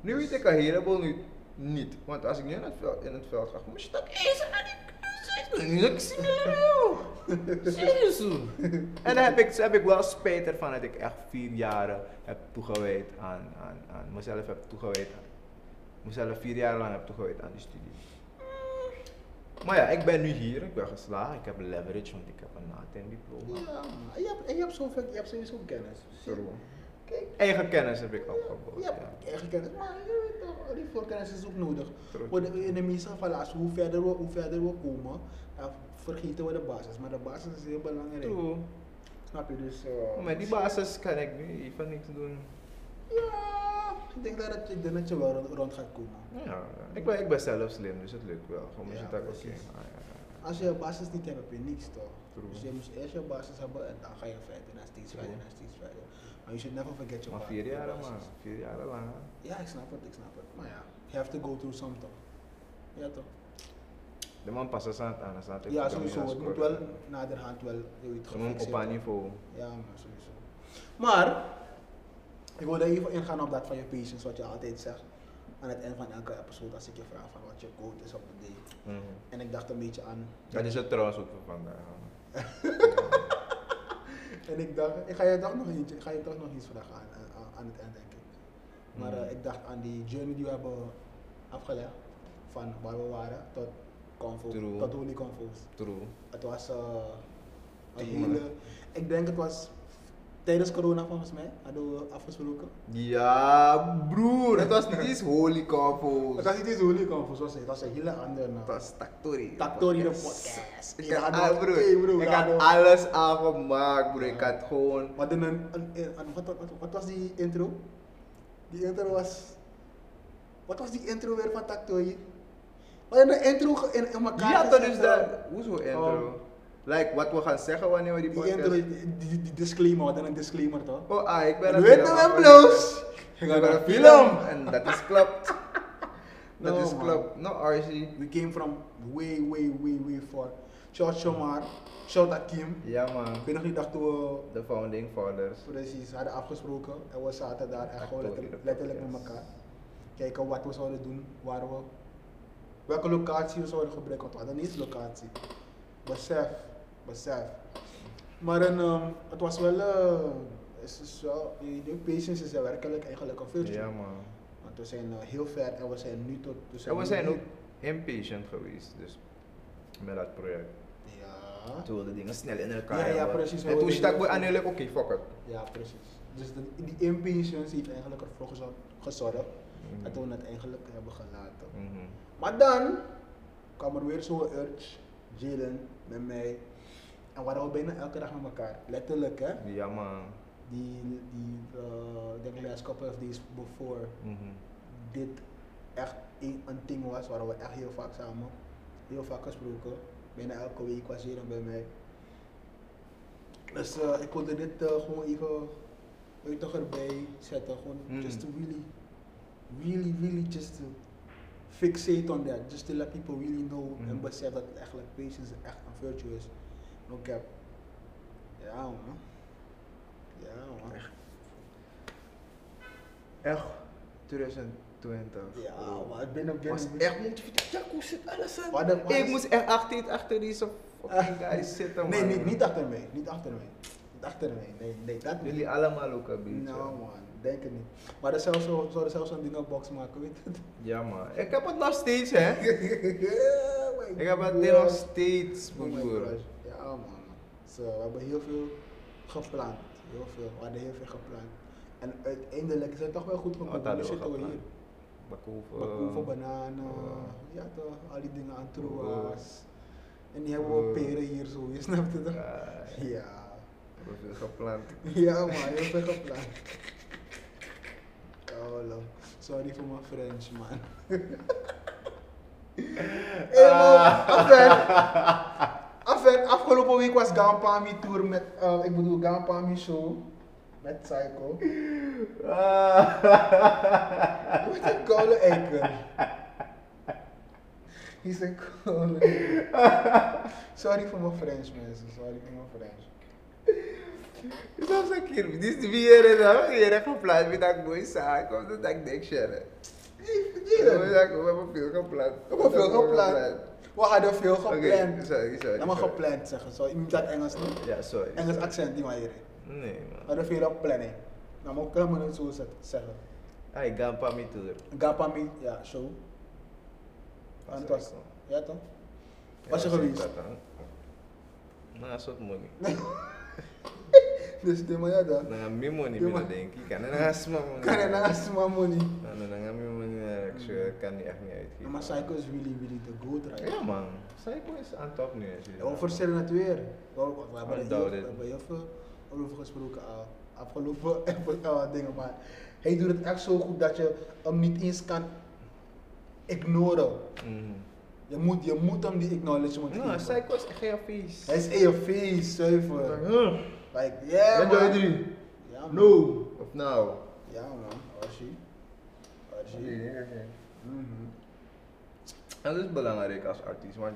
[SPEAKER 1] Nu weet ik een heleboel nu niet. Want als ik nu in het veld, in het veld ga, moet je dat eens aan die niks meer, joh. Serieus. joh. En daar heb ik, heb ik wel spijt ervan dat ik echt vier jaren heb toegewijd aan, aan, aan mezelf heb toegewijd aan. Mezelf vier jaar lang heb toegewijd aan die studie. Maar ja, ik ben nu hier, ik ben geslaagd, ik heb leverage, want ik heb een NATEN diploma.
[SPEAKER 2] Ja, maar je hebt, en je hebt, zoveel, je hebt sowieso kennis.
[SPEAKER 1] Daarom.
[SPEAKER 2] Kijk,
[SPEAKER 1] Eigen kennis heb ik
[SPEAKER 2] je
[SPEAKER 1] opgebouwd. Ja.
[SPEAKER 2] hebt eigen kennis, maar je weet toch, die voorkennis is ook nodig.
[SPEAKER 1] True.
[SPEAKER 2] Voor de, in de meeste gevallen, als we, hoe, verder we, hoe verder we komen, dan vergeten we de basis. Maar de basis is heel belangrijk.
[SPEAKER 1] True.
[SPEAKER 2] Snap je dus? eh,
[SPEAKER 1] Maar met die basis kan ik nu even niks doen.
[SPEAKER 2] Ja, ik denk dat, het, ik denk dat je wel rond, rond gaat komen.
[SPEAKER 1] Ja, ik ben, ik ben zelf slim, dus het lukt wel. Gewoon
[SPEAKER 2] Ja,
[SPEAKER 1] ja, oké.
[SPEAKER 2] precies.
[SPEAKER 1] Ah, ja, ja.
[SPEAKER 2] Als je je basis niet hebt, heb je niks toch?
[SPEAKER 1] True.
[SPEAKER 2] Dus je moet eerst je basis hebben en dan ga je verder en steeds
[SPEAKER 1] True.
[SPEAKER 2] verder en steeds verder. Maar je should never forget your
[SPEAKER 1] Maar
[SPEAKER 2] ba-
[SPEAKER 1] vier
[SPEAKER 2] your
[SPEAKER 1] jaar,
[SPEAKER 2] basis.
[SPEAKER 1] man. Vier jaar lang. hè.
[SPEAKER 2] Ja, ik snap het, ik snap het. Maar ja, you have to go through something. Ja toch?
[SPEAKER 1] De man past eens aan het aan, eens aan het
[SPEAKER 2] ja,
[SPEAKER 1] even
[SPEAKER 2] sowieso.
[SPEAKER 1] gaan
[SPEAKER 2] Het moet wel
[SPEAKER 1] scoren.
[SPEAKER 2] naderhand wel je weet,
[SPEAKER 1] De man op
[SPEAKER 2] gefixeerd
[SPEAKER 1] haar
[SPEAKER 2] worden.
[SPEAKER 1] niveau.
[SPEAKER 2] Ja, maar sowieso. Maar, ik wilde even ingaan op dat van je patience, wat je altijd zegt. Aan het eind van elke episode, als ik je vraag van wat je quote is op de day.
[SPEAKER 1] Mhm.
[SPEAKER 2] En ik dacht een beetje aan.
[SPEAKER 1] Dat is het trouwens ook voor vandaag. man.
[SPEAKER 2] En ik dacht, ik ga je toch nog, iets, ik ga je toch nog iets vragen aan, eh, aan, aan het eind, denk ik. Maar eh,
[SPEAKER 1] Mhm.
[SPEAKER 2] ik dacht aan die journey die we hebben afgelegd. Van waar we waren tot Convo,
[SPEAKER 1] True.
[SPEAKER 2] tot Holy Convo's.
[SPEAKER 1] True.
[SPEAKER 2] Het was eh, een
[SPEAKER 1] Tien
[SPEAKER 2] hele. Ik denk het was tijdens corona volgens mij, hadden we afgesproken.
[SPEAKER 1] Ja, broer. Het Iya, was niet eens holy couples.
[SPEAKER 2] Het was niet eens Holy Convo's, was het? Het was een hele andere naam.
[SPEAKER 1] Het was Taktori.
[SPEAKER 2] Taktori de
[SPEAKER 1] Yes.
[SPEAKER 2] podcast.
[SPEAKER 1] Ik
[SPEAKER 2] Ja,
[SPEAKER 1] had,
[SPEAKER 2] nou,
[SPEAKER 1] ah, broer,
[SPEAKER 2] hey, broer,
[SPEAKER 1] ik ah.
[SPEAKER 2] ja, nou.
[SPEAKER 1] had alles aangemaakt, broer. Ik
[SPEAKER 2] Ja.
[SPEAKER 1] had gewoon...
[SPEAKER 2] Wat, een, een, een- een- wat, wat, wat was die intro? Die intro was. Wat was die intro weer van Taktoy? Wat een intro ge- in, in elkaar.
[SPEAKER 1] Ja, dat
[SPEAKER 2] gezet,
[SPEAKER 1] is
[SPEAKER 2] eh,
[SPEAKER 1] dat. dus Hoezo intro? Like, wat we gaan zeggen wanneer we die
[SPEAKER 2] Die
[SPEAKER 1] podcast...
[SPEAKER 2] intro, die, die, die disclaimer, wat een disclaimer toch?
[SPEAKER 1] Oh, ah, ik ben
[SPEAKER 2] Je weet
[SPEAKER 1] film.
[SPEAKER 2] hem en bloos! Je
[SPEAKER 1] Ik
[SPEAKER 2] gaat
[SPEAKER 1] ben
[SPEAKER 2] naar
[SPEAKER 1] een
[SPEAKER 2] film!
[SPEAKER 1] film. En dat is klopt. Dat
[SPEAKER 2] No,
[SPEAKER 1] is
[SPEAKER 2] man.
[SPEAKER 1] klopt. No, RC.
[SPEAKER 2] We came from way, way, way, way far. Shout Shomar, shout out Kim.
[SPEAKER 1] Ja, man.
[SPEAKER 2] Ik weet nog niet, dachten we
[SPEAKER 1] De founding fathers.
[SPEAKER 2] Precies, we hadden afgesproken en we zaten daar en
[SPEAKER 1] Echt wel
[SPEAKER 2] gewoon letterlijk,
[SPEAKER 1] iedere
[SPEAKER 2] letterlijk met
[SPEAKER 1] podcast.
[SPEAKER 2] elkaar. Kijken wat we zouden doen, waar we, welke locatie we zouden gebruiken, want we hadden niet eens locatie. Besef, besef. Maar en, ehm, het was wel, eh, het is wel, die, die patience is werkelijk eigenlijk een virtue.
[SPEAKER 1] Ja, man.
[SPEAKER 2] Want we zijn eh, heel ver en we zijn nu tot, we
[SPEAKER 1] En we
[SPEAKER 2] nu
[SPEAKER 1] zijn
[SPEAKER 2] hier.
[SPEAKER 1] ook impatient geweest, dus met dat project.
[SPEAKER 2] Ja,
[SPEAKER 1] Toen wilden dingen snel in elkaar
[SPEAKER 2] Ah. Ja, ja,
[SPEAKER 1] hebben.
[SPEAKER 2] precies.
[SPEAKER 1] En toen stak we aan eigenlijk, oké, fuck it.
[SPEAKER 2] ja precies. Dus de- die impatience heeft eigenlijk ervoor gezo- gezorgd
[SPEAKER 1] Mm.
[SPEAKER 2] dat we het eigenlijk hebben gelaten.
[SPEAKER 1] Mhm.
[SPEAKER 2] Maar dan kwam er weer zo'n urge, Jalen, met mij. En waren we bijna elke dag met elkaar. Letterlijk, hè?
[SPEAKER 1] Ja, man.
[SPEAKER 2] Die, die eh, ik denk de last couple of days before
[SPEAKER 1] Mhm.
[SPEAKER 2] dit echt een, een ding was, waren we echt heel vaak samen. Heel vaak gesproken. Bijna elke week was Jalen bij mij. Dus eh, ik wilde dit eh, gewoon even uit toch erbij zetten. Gewoon
[SPEAKER 1] Mm.
[SPEAKER 2] just to really, really, really just to fixate on that. Just to let people really know
[SPEAKER 1] Mm.
[SPEAKER 2] en besef dat eigenlijk patience echt een virtue is. No cap. Ja man. Ja man.
[SPEAKER 1] Echt, 2020.
[SPEAKER 2] Ja
[SPEAKER 1] Oh.
[SPEAKER 2] man. Ik ben op
[SPEAKER 1] was echt motiverend. Ja, hoe zit alles aan?
[SPEAKER 2] Wat een- wat
[SPEAKER 1] Ik
[SPEAKER 2] een-
[SPEAKER 1] moest echt achter, achter die zo fucking guys zitten, man.
[SPEAKER 2] Nee, niet, niet achter mij. Niet achter mij. Niet achter mij. Nee, nee, dat niet.
[SPEAKER 1] Jullie allemaal ook een beetje.
[SPEAKER 2] Nou man, denk het niet. Maar er zelfs zo, zouden zelfs zo'n dingenbox maken, weet je?
[SPEAKER 1] Ja, man. Ik heb het nog steeds, hè.
[SPEAKER 2] Ja, my
[SPEAKER 1] Ik heb het
[SPEAKER 2] Oh God.
[SPEAKER 1] nog steeds,
[SPEAKER 2] Oh my
[SPEAKER 1] broer.
[SPEAKER 2] gosh. Ja man. Zo, we hebben heel veel gepland. Heel veel. We hadden heel veel gepland. En uiteindelijk is het toch wel goed
[SPEAKER 1] Wat
[SPEAKER 2] gekomen. Nu
[SPEAKER 1] hadden we
[SPEAKER 2] zitten we
[SPEAKER 1] gepland?
[SPEAKER 2] hier.
[SPEAKER 1] Bakoeven.
[SPEAKER 2] Bakoeven, bananen, ja toch, al die dingen aan troas. En die hebben we ook
[SPEAKER 1] Eh.
[SPEAKER 2] peren hier zo, je snapt het toch?
[SPEAKER 1] Ja,
[SPEAKER 2] Ja.
[SPEAKER 1] we hebben gepland.
[SPEAKER 2] Ja man, heel veel gepland. Kauwlam. Sorry voor mijn French man. Eh, hey man, afijn. Afijn, afgelopen week was Gampami tour met, eh, ik bedoel Gampami show. Met Psycho. Wat een koude eiken. eh, He's een koude eiken. Sorry voor mijn French mensen, sorry voor mijn French.
[SPEAKER 1] Is dat een keer? Dit is weer en dan weer echt gepland met dat mooie zaak. Of dat ik denk, Sharon. We
[SPEAKER 2] We
[SPEAKER 1] hebben veel gepland. We
[SPEAKER 2] hebben veel gepland. We hadden veel
[SPEAKER 1] Oké,
[SPEAKER 2] gepland.
[SPEAKER 1] sorry, sorry.
[SPEAKER 2] Laat maar
[SPEAKER 1] sorry.
[SPEAKER 2] gepland zeggen, zo. Je moet dat Engels doen.
[SPEAKER 1] Ja, sorry.
[SPEAKER 2] Engels accent, die manier.
[SPEAKER 1] Nee,
[SPEAKER 2] We
[SPEAKER 1] man.
[SPEAKER 2] hadden veel planning. Nou, maar kunnen we het zo zet- zeggen.
[SPEAKER 1] Hij gaat een paar minuten door.
[SPEAKER 2] Gapami, ja, show. En het was,
[SPEAKER 1] Psycho.
[SPEAKER 2] ja toch? Was je geweest?
[SPEAKER 1] Nou, dat is wat money.
[SPEAKER 2] Dus die man, ja dan.
[SPEAKER 1] Dan gaan we money
[SPEAKER 2] Ja, maar-
[SPEAKER 1] binnen, denk ik. En dan gaan we money.
[SPEAKER 2] Kan je naast mijn money?
[SPEAKER 1] En dan gaan we money naar, ik zweer, ik kan die echt niet uitgeven.
[SPEAKER 2] Maar Psycho is really, really the goat, right?
[SPEAKER 1] Ja, man. Psycho is aan top nu. als je dat
[SPEAKER 2] Ja, over
[SPEAKER 1] mag.
[SPEAKER 2] Serena het weer. We, we hebben er heel,
[SPEAKER 1] Undoubted.
[SPEAKER 2] we hebben heel veel over gesproken al. Afgelopen eh, dingen, maar hij doet het echt zo goed dat je hem niet eens kan ignoren.
[SPEAKER 1] Mhm.
[SPEAKER 2] Je moet, je moet hem die acknowledgement
[SPEAKER 1] Nou,
[SPEAKER 2] geven.
[SPEAKER 1] Psycho is echt heel vies.
[SPEAKER 2] Hij is in je face, zuiver. Like,
[SPEAKER 1] Ben
[SPEAKER 2] yeah
[SPEAKER 1] jij
[SPEAKER 2] man.
[SPEAKER 1] drie?
[SPEAKER 2] Ja man.
[SPEAKER 1] No. Of nou?
[SPEAKER 2] Ja man, Archie. Archie. Mhm.
[SPEAKER 1] En dat is belangrijk als artiest, want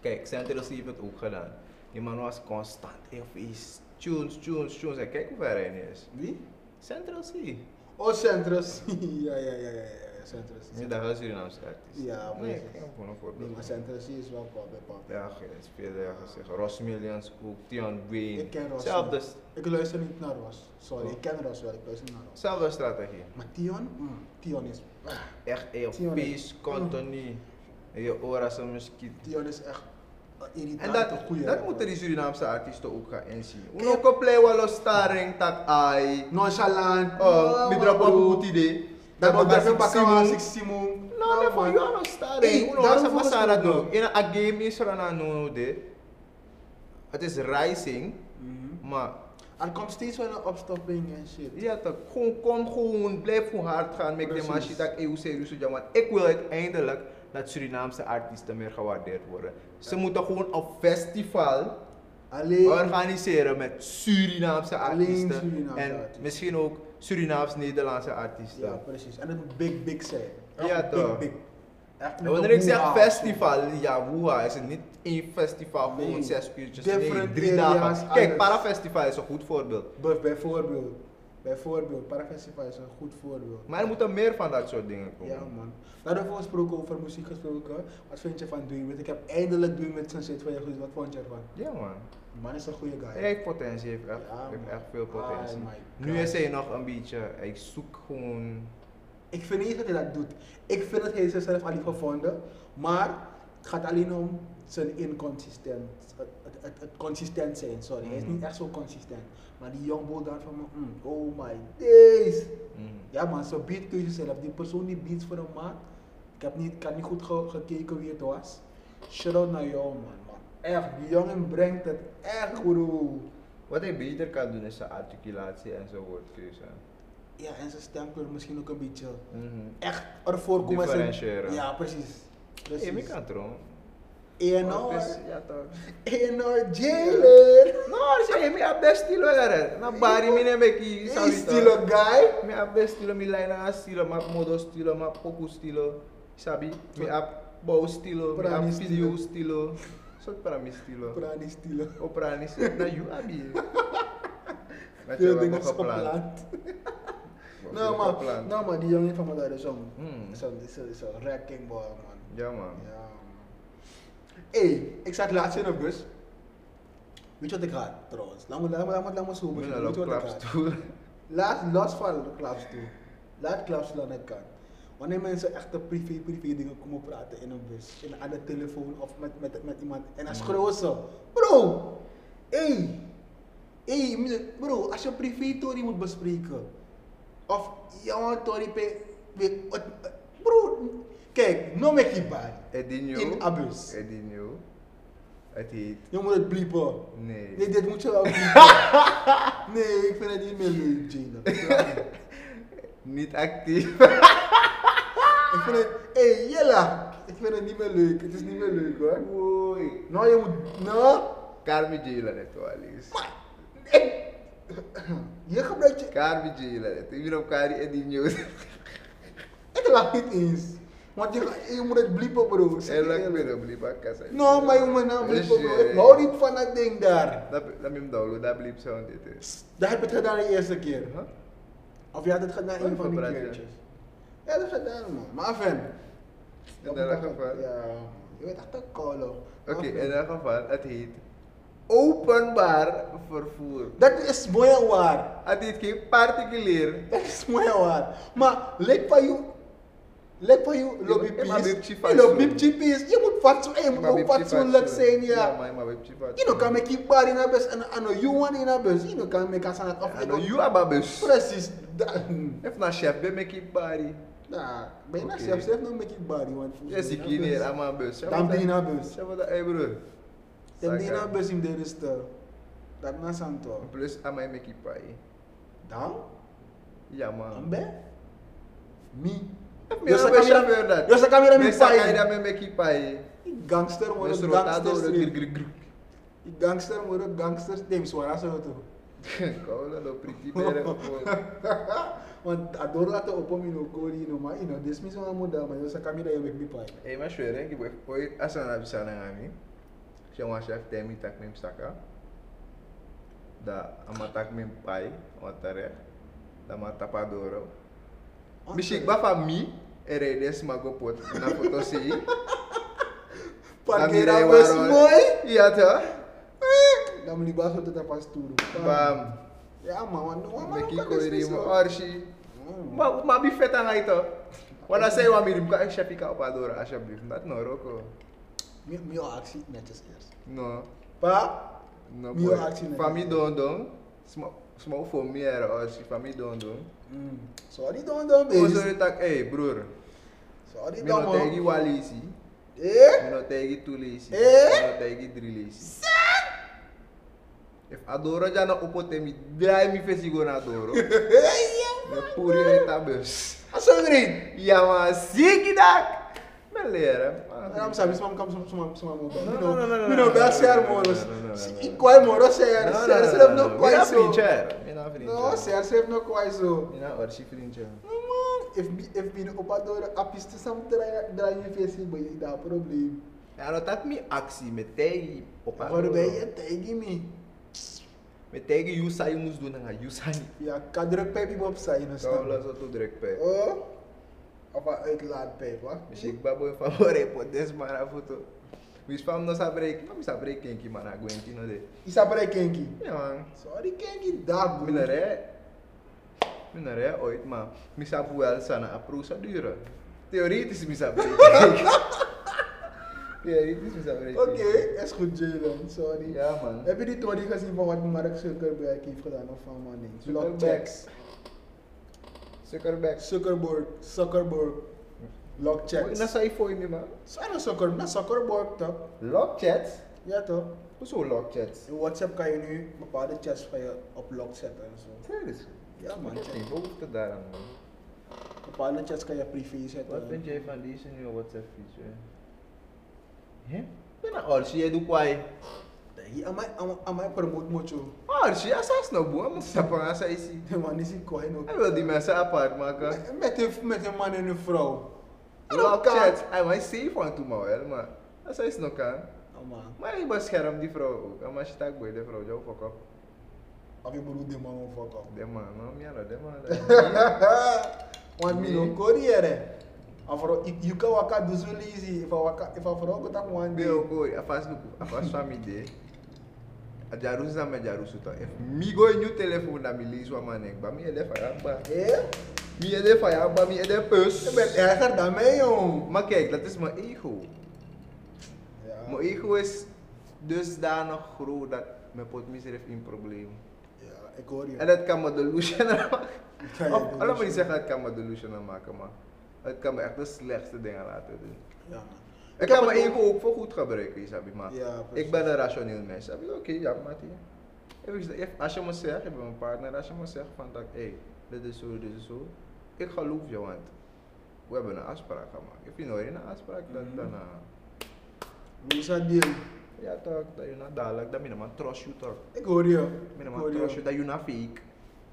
[SPEAKER 1] kijk, Centros heeft het ook gedaan. Die man was constant heel vies. Tunes, tunes, tunes. En kijk hoe ver hij nu is.
[SPEAKER 2] Wie?
[SPEAKER 1] Central C.
[SPEAKER 2] Oh, Centrus. ja, ja, ja, ja, ja, Centrus.
[SPEAKER 1] Is dat een Surinaamse artiest?
[SPEAKER 2] Ja,
[SPEAKER 1] nee,
[SPEAKER 2] precies.
[SPEAKER 1] ik heb gewoon een
[SPEAKER 2] Nee,
[SPEAKER 1] voorbeeld.
[SPEAKER 2] maar Centrus is wel pop, bij pop.
[SPEAKER 1] Ja, ge- het speelde ergens zeggen. Ross Millions ook, Tion Wayne.
[SPEAKER 2] Ik ken Ross
[SPEAKER 1] Zelfde,
[SPEAKER 2] niet. Ik luister niet naar Ros. Sorry, ik ken Ros wel, ik luister niet naar Ros.
[SPEAKER 1] zelfde strategie.
[SPEAKER 2] Maar Tion?
[SPEAKER 1] Hmm.
[SPEAKER 2] Mm, Tion is. ah,
[SPEAKER 1] Echt
[SPEAKER 2] Tion
[SPEAKER 1] Europees, continu. En Je oren als een muskiet.
[SPEAKER 2] Tion is echt
[SPEAKER 1] En
[SPEAKER 2] een irritante
[SPEAKER 1] dat,
[SPEAKER 2] goeie.
[SPEAKER 1] dat
[SPEAKER 2] rapper.
[SPEAKER 1] moeten die Surinaamse artiesten ook gaan inzien. Uno ko play walo starring tak ai.
[SPEAKER 2] Nonchalant.
[SPEAKER 1] Oh, mi drop
[SPEAKER 2] bro.
[SPEAKER 1] op de.
[SPEAKER 2] Dat
[SPEAKER 1] Dat
[SPEAKER 2] we
[SPEAKER 1] baga
[SPEAKER 2] bakken bakken aan
[SPEAKER 1] six Nou,
[SPEAKER 2] Siximo.
[SPEAKER 1] No, no, for you are not
[SPEAKER 2] Hey,
[SPEAKER 1] starring. Uno
[SPEAKER 2] daarom
[SPEAKER 1] was
[SPEAKER 2] volgens mij
[SPEAKER 1] pasara
[SPEAKER 2] ook.
[SPEAKER 1] do. In a game is er aan no de. Het is rising, maar
[SPEAKER 2] Er Mhm. komt steeds wel een opstopping en shit.
[SPEAKER 1] ja toch, gewoon kom gewoon blijf gewoon hard gaan met de
[SPEAKER 2] Precies.
[SPEAKER 1] machine dat eu serieus doet, ja, want ik wil uiteindelijk dat Surinaamse artiesten meer gewaardeerd worden. Ze moeten gewoon een festival Eh.
[SPEAKER 2] Alleen.
[SPEAKER 1] organiseren met Surinaamse
[SPEAKER 2] Alleen
[SPEAKER 1] artiesten.
[SPEAKER 2] Surinaamse
[SPEAKER 1] en
[SPEAKER 2] artiesten.
[SPEAKER 1] misschien ook Surinaams-Nederlandse artiesten.
[SPEAKER 2] Ja, precies. En het moet big, big zijn. Echt
[SPEAKER 1] Ja, toch.
[SPEAKER 2] Big, big. Echt
[SPEAKER 1] En
[SPEAKER 2] met
[SPEAKER 1] wanneer
[SPEAKER 2] een
[SPEAKER 1] ik zeg
[SPEAKER 2] hoera.
[SPEAKER 1] festival, ja, woeha, is het niet één festival,
[SPEAKER 2] Nee.
[SPEAKER 1] gewoon zes uurtjes, nee,
[SPEAKER 2] Different
[SPEAKER 1] drie
[SPEAKER 2] areas,
[SPEAKER 1] dagen. Kijk,
[SPEAKER 2] alles.
[SPEAKER 1] Parafestival is een goed voorbeeld.
[SPEAKER 2] Bijv- Bijvoorbeeld. Bijvoorbeeld. Parafestival is een goed voorbeeld.
[SPEAKER 1] Maar er moeten meer van dat soort dingen komen.
[SPEAKER 2] Ja man. Daarvoor gesproken over muziek gesproken. Wat vind je van Doing With? Ik heb eindelijk Doing With sinds twee jaar gezien. Wat vond je ervan?
[SPEAKER 1] Ja, man.
[SPEAKER 2] Die man is een goede guy.
[SPEAKER 1] Hij heeft potentie, heeft echt,
[SPEAKER 2] Ja,
[SPEAKER 1] heeft
[SPEAKER 2] man.
[SPEAKER 1] echt veel potentie.
[SPEAKER 2] Ah, my God.
[SPEAKER 1] nu is hij nog een beetje, hij zoekt gewoon...
[SPEAKER 2] Ik vind niet eens dat hij dat doet. Ik vind dat hij zichzelf al heeft gevonden. Maar het gaat alleen om zijn inconsistent. Het, het, het, het consistent zijn, sorry. Hij is
[SPEAKER 1] Mhm.
[SPEAKER 2] niet echt zo consistent. Maar die jongboy daar van me, mm, oh my days.
[SPEAKER 1] mm.
[SPEAKER 2] Ja man, zo beatkeuze zelf. Die persoon die beats voor hem maakt. Ik heb niet, ik had niet goed ge- gekeken wie het was. Shout-out naar jou man. man. Echt, die jongen brengt het echt bro.
[SPEAKER 1] Wat hij beter kan doen is zijn articulatie en zijn woordkeuze.
[SPEAKER 2] Ja, en zijn stemkleur misschien ook een beetje.
[SPEAKER 1] Mhm.
[SPEAKER 2] Echt ervoor komen. als een-
[SPEAKER 1] Differentiëren.
[SPEAKER 2] Ja, precies.
[SPEAKER 1] Hey, Oh,
[SPEAKER 2] precies.
[SPEAKER 1] mi kan tron.
[SPEAKER 2] ENR.
[SPEAKER 1] Ja toch. Nou,
[SPEAKER 2] ENR jailer.
[SPEAKER 1] No, say mi a best stilo Nou, yare. Na bari mi ne meki
[SPEAKER 2] Hey, still a guy.
[SPEAKER 1] Mi a best stilo mi line a stilo, ma modo stilo, ma poku stilo. Sabi, mi a bow stilo, mi a
[SPEAKER 2] Prani
[SPEAKER 1] video stilo. Sot para mi stilo.
[SPEAKER 2] Prani still.
[SPEAKER 1] O prani se na you abi. Met
[SPEAKER 2] Veel
[SPEAKER 1] je
[SPEAKER 2] dingen
[SPEAKER 1] wat
[SPEAKER 2] is
[SPEAKER 1] gepland.
[SPEAKER 2] gepland.
[SPEAKER 1] Veel
[SPEAKER 2] Nou man,
[SPEAKER 1] gepland.
[SPEAKER 2] nou man, die jongen van me daar is om.
[SPEAKER 1] Hmm.
[SPEAKER 2] Is een- is een- is een wrecking ball man.
[SPEAKER 1] Ja man.
[SPEAKER 2] Ja man. Hey, ik zat laatst in een bus. Weet je wat ik had trouwens? Laat me, laat me, laat me, laat me zo
[SPEAKER 1] Ik ben
[SPEAKER 2] beginnen.
[SPEAKER 1] al
[SPEAKER 2] Weet
[SPEAKER 1] op
[SPEAKER 2] je wat ik had?
[SPEAKER 1] klapstoel.
[SPEAKER 2] Laat los van de klaps toe. Laat klaps toe aan de kant. Wanneer mensen echt de privé, privé dingen komen praten in een bus, in, aan de telefoon of met, met, met iemand en dan schreeuwen ze. Bro, hé, hey, Hé, bro, als je privé-tory moet bespreken. Of jouw tory pe. pe- wat- Bro, kijk, no make it bad.
[SPEAKER 1] Edinho.
[SPEAKER 2] In abus.
[SPEAKER 1] Edinho. Het heet.
[SPEAKER 2] Je moet het bliepen.
[SPEAKER 1] Nee.
[SPEAKER 2] Nee, dit moet je wel bliepen. Nee, ik vind het niet meer leuk, Jada.
[SPEAKER 1] Niet actief.
[SPEAKER 2] Ik vind het. Hé, Jella! Ik vind het niet meer leuk. Het is niet meer leuk hoor.
[SPEAKER 1] Oei.
[SPEAKER 2] Nou, je moet. Nou,
[SPEAKER 1] Carmi Jila net walis.
[SPEAKER 2] je gebruikt je.
[SPEAKER 1] Carmi Jila net. Ik ben op Kari Edinho.
[SPEAKER 2] Ik lach niet eens. Want je, je moet het bliepen, bro. Ik zeg je
[SPEAKER 1] En laat
[SPEAKER 2] eerlijk.
[SPEAKER 1] me op Liba Kassa.
[SPEAKER 2] No, maar je moet nou bliepen, bro.
[SPEAKER 1] "É,
[SPEAKER 2] Ik hou niet van dat ding daar.
[SPEAKER 1] Laat me hem downloaden, daar bliep zo dit is.
[SPEAKER 2] Dat heb je het gedaan de eerste keer.
[SPEAKER 1] Huh?
[SPEAKER 2] Of je had het gedaan
[SPEAKER 1] Wat
[SPEAKER 2] een van die
[SPEAKER 1] praat je?
[SPEAKER 2] keertjes. Ja, dat is gedaan, man. Maar fan.
[SPEAKER 1] In elk geval.
[SPEAKER 2] Ja, je weet echt een kolo.
[SPEAKER 1] Oké, in elk geval, het heet openbaar vervoer.
[SPEAKER 2] Dat is mooi en waar.
[SPEAKER 1] Het heet geen particulier.
[SPEAKER 2] Dat is mooi en waar. Maar lek van jou, lek van jou, lobby
[SPEAKER 1] maar- maar
[SPEAKER 2] peace.
[SPEAKER 1] bipje
[SPEAKER 2] Je loopt
[SPEAKER 1] fatsoen.
[SPEAKER 2] bipje peace. Je moet fatsoen, je moet
[SPEAKER 1] Maar
[SPEAKER 2] ook
[SPEAKER 1] wipje
[SPEAKER 2] fatsoenlijk
[SPEAKER 1] fatsoen.
[SPEAKER 2] zijn,
[SPEAKER 1] Ja,
[SPEAKER 2] ja.
[SPEAKER 1] maar maar wipje fatsoen.
[SPEAKER 2] Je kan met je bar in de bus en aan you one in de bus. Je kan met elkaar aan
[SPEAKER 1] Ja,
[SPEAKER 2] het
[SPEAKER 1] nou, Ah, you are babus.
[SPEAKER 2] Precies. dat-
[SPEAKER 1] Even naar chef, ben ik in Bari.
[SPEAKER 2] Nou, ben je nou
[SPEAKER 1] Oké.
[SPEAKER 2] zelf, zelf nou met je bar, want
[SPEAKER 1] Je ziet hier neer aan mijn bus. Chef,
[SPEAKER 2] Dan
[SPEAKER 1] wat-
[SPEAKER 2] ben je naar bus.
[SPEAKER 1] Chef, wat dat, hey broer.
[SPEAKER 2] Dan ben je
[SPEAKER 1] Saka.
[SPEAKER 2] naar bus in de rest. eh, Dat na Santo.
[SPEAKER 1] Plus aan mijn mekkie pai.
[SPEAKER 2] Dan?
[SPEAKER 1] Ja man.
[SPEAKER 2] Dan ben? Mi.
[SPEAKER 1] Meer
[SPEAKER 2] Yo,
[SPEAKER 1] dan
[SPEAKER 2] sa
[SPEAKER 1] mijn
[SPEAKER 2] camera-
[SPEAKER 1] chauffeur dat.
[SPEAKER 2] yo, sa camera mi
[SPEAKER 1] Meer dan
[SPEAKER 2] pai.
[SPEAKER 1] kan je dat mijn mekkie pai.
[SPEAKER 2] Die Gangster
[SPEAKER 1] Met
[SPEAKER 2] worden
[SPEAKER 1] z'n rotado, dat grik,
[SPEAKER 2] gangsters.
[SPEAKER 1] grik, grik.
[SPEAKER 2] Die gangster worden gangsters. Neem zwaar zo toch.
[SPEAKER 1] Koude lopritie beren gewoon.
[SPEAKER 2] Want adoro dat op om in okori "Oh, no maar in this mis mo da maar yo sa camera yo bek mi pai.
[SPEAKER 1] Hey, mas chwe rengi bwe foi asan na bisa na ngami. Siya wan chef temi tak mem saka. Da ama tak mem pai, watare. Da ma tapadoro. Bishik ba fa mi, ere des magopot na foto si.
[SPEAKER 2] Parkera was mooi.
[SPEAKER 1] Iya ta.
[SPEAKER 2] Dan moet die baas op de tapas toeren.
[SPEAKER 1] Bam.
[SPEAKER 2] Ja man, want no man
[SPEAKER 1] Meki
[SPEAKER 2] kan
[SPEAKER 1] ko
[SPEAKER 2] dus
[SPEAKER 1] iri
[SPEAKER 2] niet
[SPEAKER 1] mo
[SPEAKER 2] zo.
[SPEAKER 1] orshi.
[SPEAKER 2] Hmm.
[SPEAKER 1] Ma ma bi feta nga ito. Wala say wa mi rim ka chef ka opadoro asha brief. Not no roko.
[SPEAKER 2] Mi mi ah, actie netjes eerst.
[SPEAKER 1] No.
[SPEAKER 2] Pa,
[SPEAKER 1] No
[SPEAKER 2] Mio
[SPEAKER 1] boy.
[SPEAKER 2] actie net.
[SPEAKER 1] Famille Dondon. Small- Small voor meer als je famille Dondon.
[SPEAKER 2] Hmm. sorry dan dan
[SPEAKER 1] Hoe
[SPEAKER 2] baby.
[SPEAKER 1] zou je tak, hey broer,
[SPEAKER 2] Sorry
[SPEAKER 1] ik
[SPEAKER 2] dan
[SPEAKER 1] ben tegen
[SPEAKER 2] man.
[SPEAKER 1] Walisi,
[SPEAKER 2] Eh?
[SPEAKER 1] ik ben tegen Tulisi, ik
[SPEAKER 2] Eh?
[SPEAKER 1] ben tegen Drilisi. If Adoro jana opo temi, draai mi fesi go na Adoro.
[SPEAKER 2] ya.
[SPEAKER 1] Me puri e tabus.
[SPEAKER 2] Asangrin.
[SPEAKER 1] Ja maar ziek dak. Me leren. man.
[SPEAKER 2] Ram sabe, sumam kam sumam sumam sumam mo.
[SPEAKER 1] No, no, no, no, no,
[SPEAKER 2] Mi no
[SPEAKER 1] no,
[SPEAKER 2] ba
[SPEAKER 1] no,
[SPEAKER 2] ser
[SPEAKER 1] no,
[SPEAKER 2] moros.
[SPEAKER 1] no, no, no,
[SPEAKER 2] Si
[SPEAKER 1] no, no.
[SPEAKER 2] ikwai moros
[SPEAKER 1] No,
[SPEAKER 2] ser,
[SPEAKER 1] no,
[SPEAKER 2] ser
[SPEAKER 1] no,
[SPEAKER 2] ser
[SPEAKER 1] no,
[SPEAKER 2] no
[SPEAKER 1] no.
[SPEAKER 2] kwai
[SPEAKER 1] Mina
[SPEAKER 2] so.
[SPEAKER 1] frincher. Mina
[SPEAKER 2] No,
[SPEAKER 1] frincher.
[SPEAKER 2] ser ser no kwai so.
[SPEAKER 1] Mina é. orsi frincher.
[SPEAKER 2] If mi if mi no opa door a piste sam dra dra je face boy, ik daar probleem.
[SPEAKER 1] Ja, dat had me actie met tegen opa.
[SPEAKER 2] Waar ben je tegen me?
[SPEAKER 1] Met tegen Yusa je moest doen aan Yusa niet.
[SPEAKER 2] Ja, kadruk bij die bob zijn is
[SPEAKER 1] Kau
[SPEAKER 2] dan.
[SPEAKER 1] langsung tu direct pay.
[SPEAKER 2] Oh. Apa uitlaatpijp, wat?
[SPEAKER 1] Mesti babo yang favore podes mara foto. Wis fam no sabrek, no mi sabrek ken eh, ki mana gwenti no de.
[SPEAKER 2] Isa para Kenki.
[SPEAKER 1] Ya man,
[SPEAKER 2] Sorry Kenki, daar broer.
[SPEAKER 1] minare. Minare oit ma, mi sabu wel sana aprusa dura. Teoritis mi sabrek. Teoritis mi sabrek.
[SPEAKER 2] Oké, is goed Jalen, sorry.
[SPEAKER 1] Ja man.
[SPEAKER 2] Heb je die tory gezien van wat Mark Zuckerberg heeft gedaan of van man ding?
[SPEAKER 1] Zuckerberg.
[SPEAKER 2] Lockchecks.
[SPEAKER 1] Zuckerberg.
[SPEAKER 2] Zuckerberg, Zuckerberg. Lockchecks.
[SPEAKER 1] Na sai foi mi ma.
[SPEAKER 2] Zijn er Zuckerberg, na Zuckerberg toch?
[SPEAKER 1] Lock chats.
[SPEAKER 2] Ja toch?
[SPEAKER 1] Hoezo lock chats?
[SPEAKER 2] In WhatsApp kan je nu bepaalde chats van je op lock zetten en zo.
[SPEAKER 1] Serius.
[SPEAKER 2] Ja man,
[SPEAKER 1] Ik heb geen behoefte daaraan man.
[SPEAKER 2] bepaalde chats kan je privé zetten.
[SPEAKER 1] Wat vind jij van deze nieuwe WhatsApp feature? Hè? Ben een orsi, jij doet kwaai.
[SPEAKER 2] Hier, aan mij- aan mij- aan mij promoot moet je.
[SPEAKER 1] Orsi, als hij snel boem, moet hij van als hij is. hier.
[SPEAKER 2] De man is in Cohen ook.
[SPEAKER 1] Hij wil die mensen apart maken.
[SPEAKER 2] Met- Met een, met een man en een vrouw.
[SPEAKER 1] Lock chat, hij was safe van toen maar wel, maar als hij snel kan.
[SPEAKER 2] Oh man.
[SPEAKER 1] Maar hij beschermt die vrouw ook. En als je tak boeit, die vrouw, jou fuck up.
[SPEAKER 2] Of je bedoelt de man of fuck
[SPEAKER 1] De man, no, mia, de man.
[SPEAKER 2] Want me no koreere. eh? Afro, you can waka do so lazy. If I waka, if I forgot go tak one day.
[SPEAKER 1] Ben ook hoor, afas nu, afas van mi de. A jaru sa me jaru suta. If mi go in je telefoon, dan mi lees wat man ik. Ba mi ede fayamba.
[SPEAKER 2] Eh?
[SPEAKER 1] Mi ede fayamba, mi ede pus.
[SPEAKER 2] Je bent erger dan mij, jong.
[SPEAKER 1] Maar kijk, dat is mijn ego.
[SPEAKER 2] Ja.
[SPEAKER 1] Mijn ego is dusdanig groot dat mijn potmis heeft een probleem.
[SPEAKER 2] ik hoor je.
[SPEAKER 1] En dat kan me delusional maken.
[SPEAKER 2] kan je
[SPEAKER 1] Of, laat oh, me
[SPEAKER 2] delusional.
[SPEAKER 1] niet zeggen, het kan me delusional maken, maar het kan me echt de slechtste dingen laten doen.
[SPEAKER 2] Ja, man.
[SPEAKER 1] Ik
[SPEAKER 2] heb
[SPEAKER 1] kan mijn
[SPEAKER 2] het ook-
[SPEAKER 1] ego ook voor goed gebruiken, Isabi, maar
[SPEAKER 2] Ja, precies.
[SPEAKER 1] ik ben een rationeel mens. Heb je oké, ja, Mati. Heb ik- heb- Als je me zegt, ik ben mijn partner, als je me zegt van dat, hé, dit is zo, dit is zo, ik geloof je, want we hebben een afspraak gemaakt. If je nooit een afspraak, dan,
[SPEAKER 2] Mhm.
[SPEAKER 1] dan eh,
[SPEAKER 2] Misa deal.
[SPEAKER 1] ja toch, dat je nou dadelijk, dat ben je maar trust you toch.
[SPEAKER 2] Ik hoor je.
[SPEAKER 1] Ben
[SPEAKER 2] Ik
[SPEAKER 1] je
[SPEAKER 2] hoor
[SPEAKER 1] maar trust
[SPEAKER 2] je.
[SPEAKER 1] you, dat je nou fake.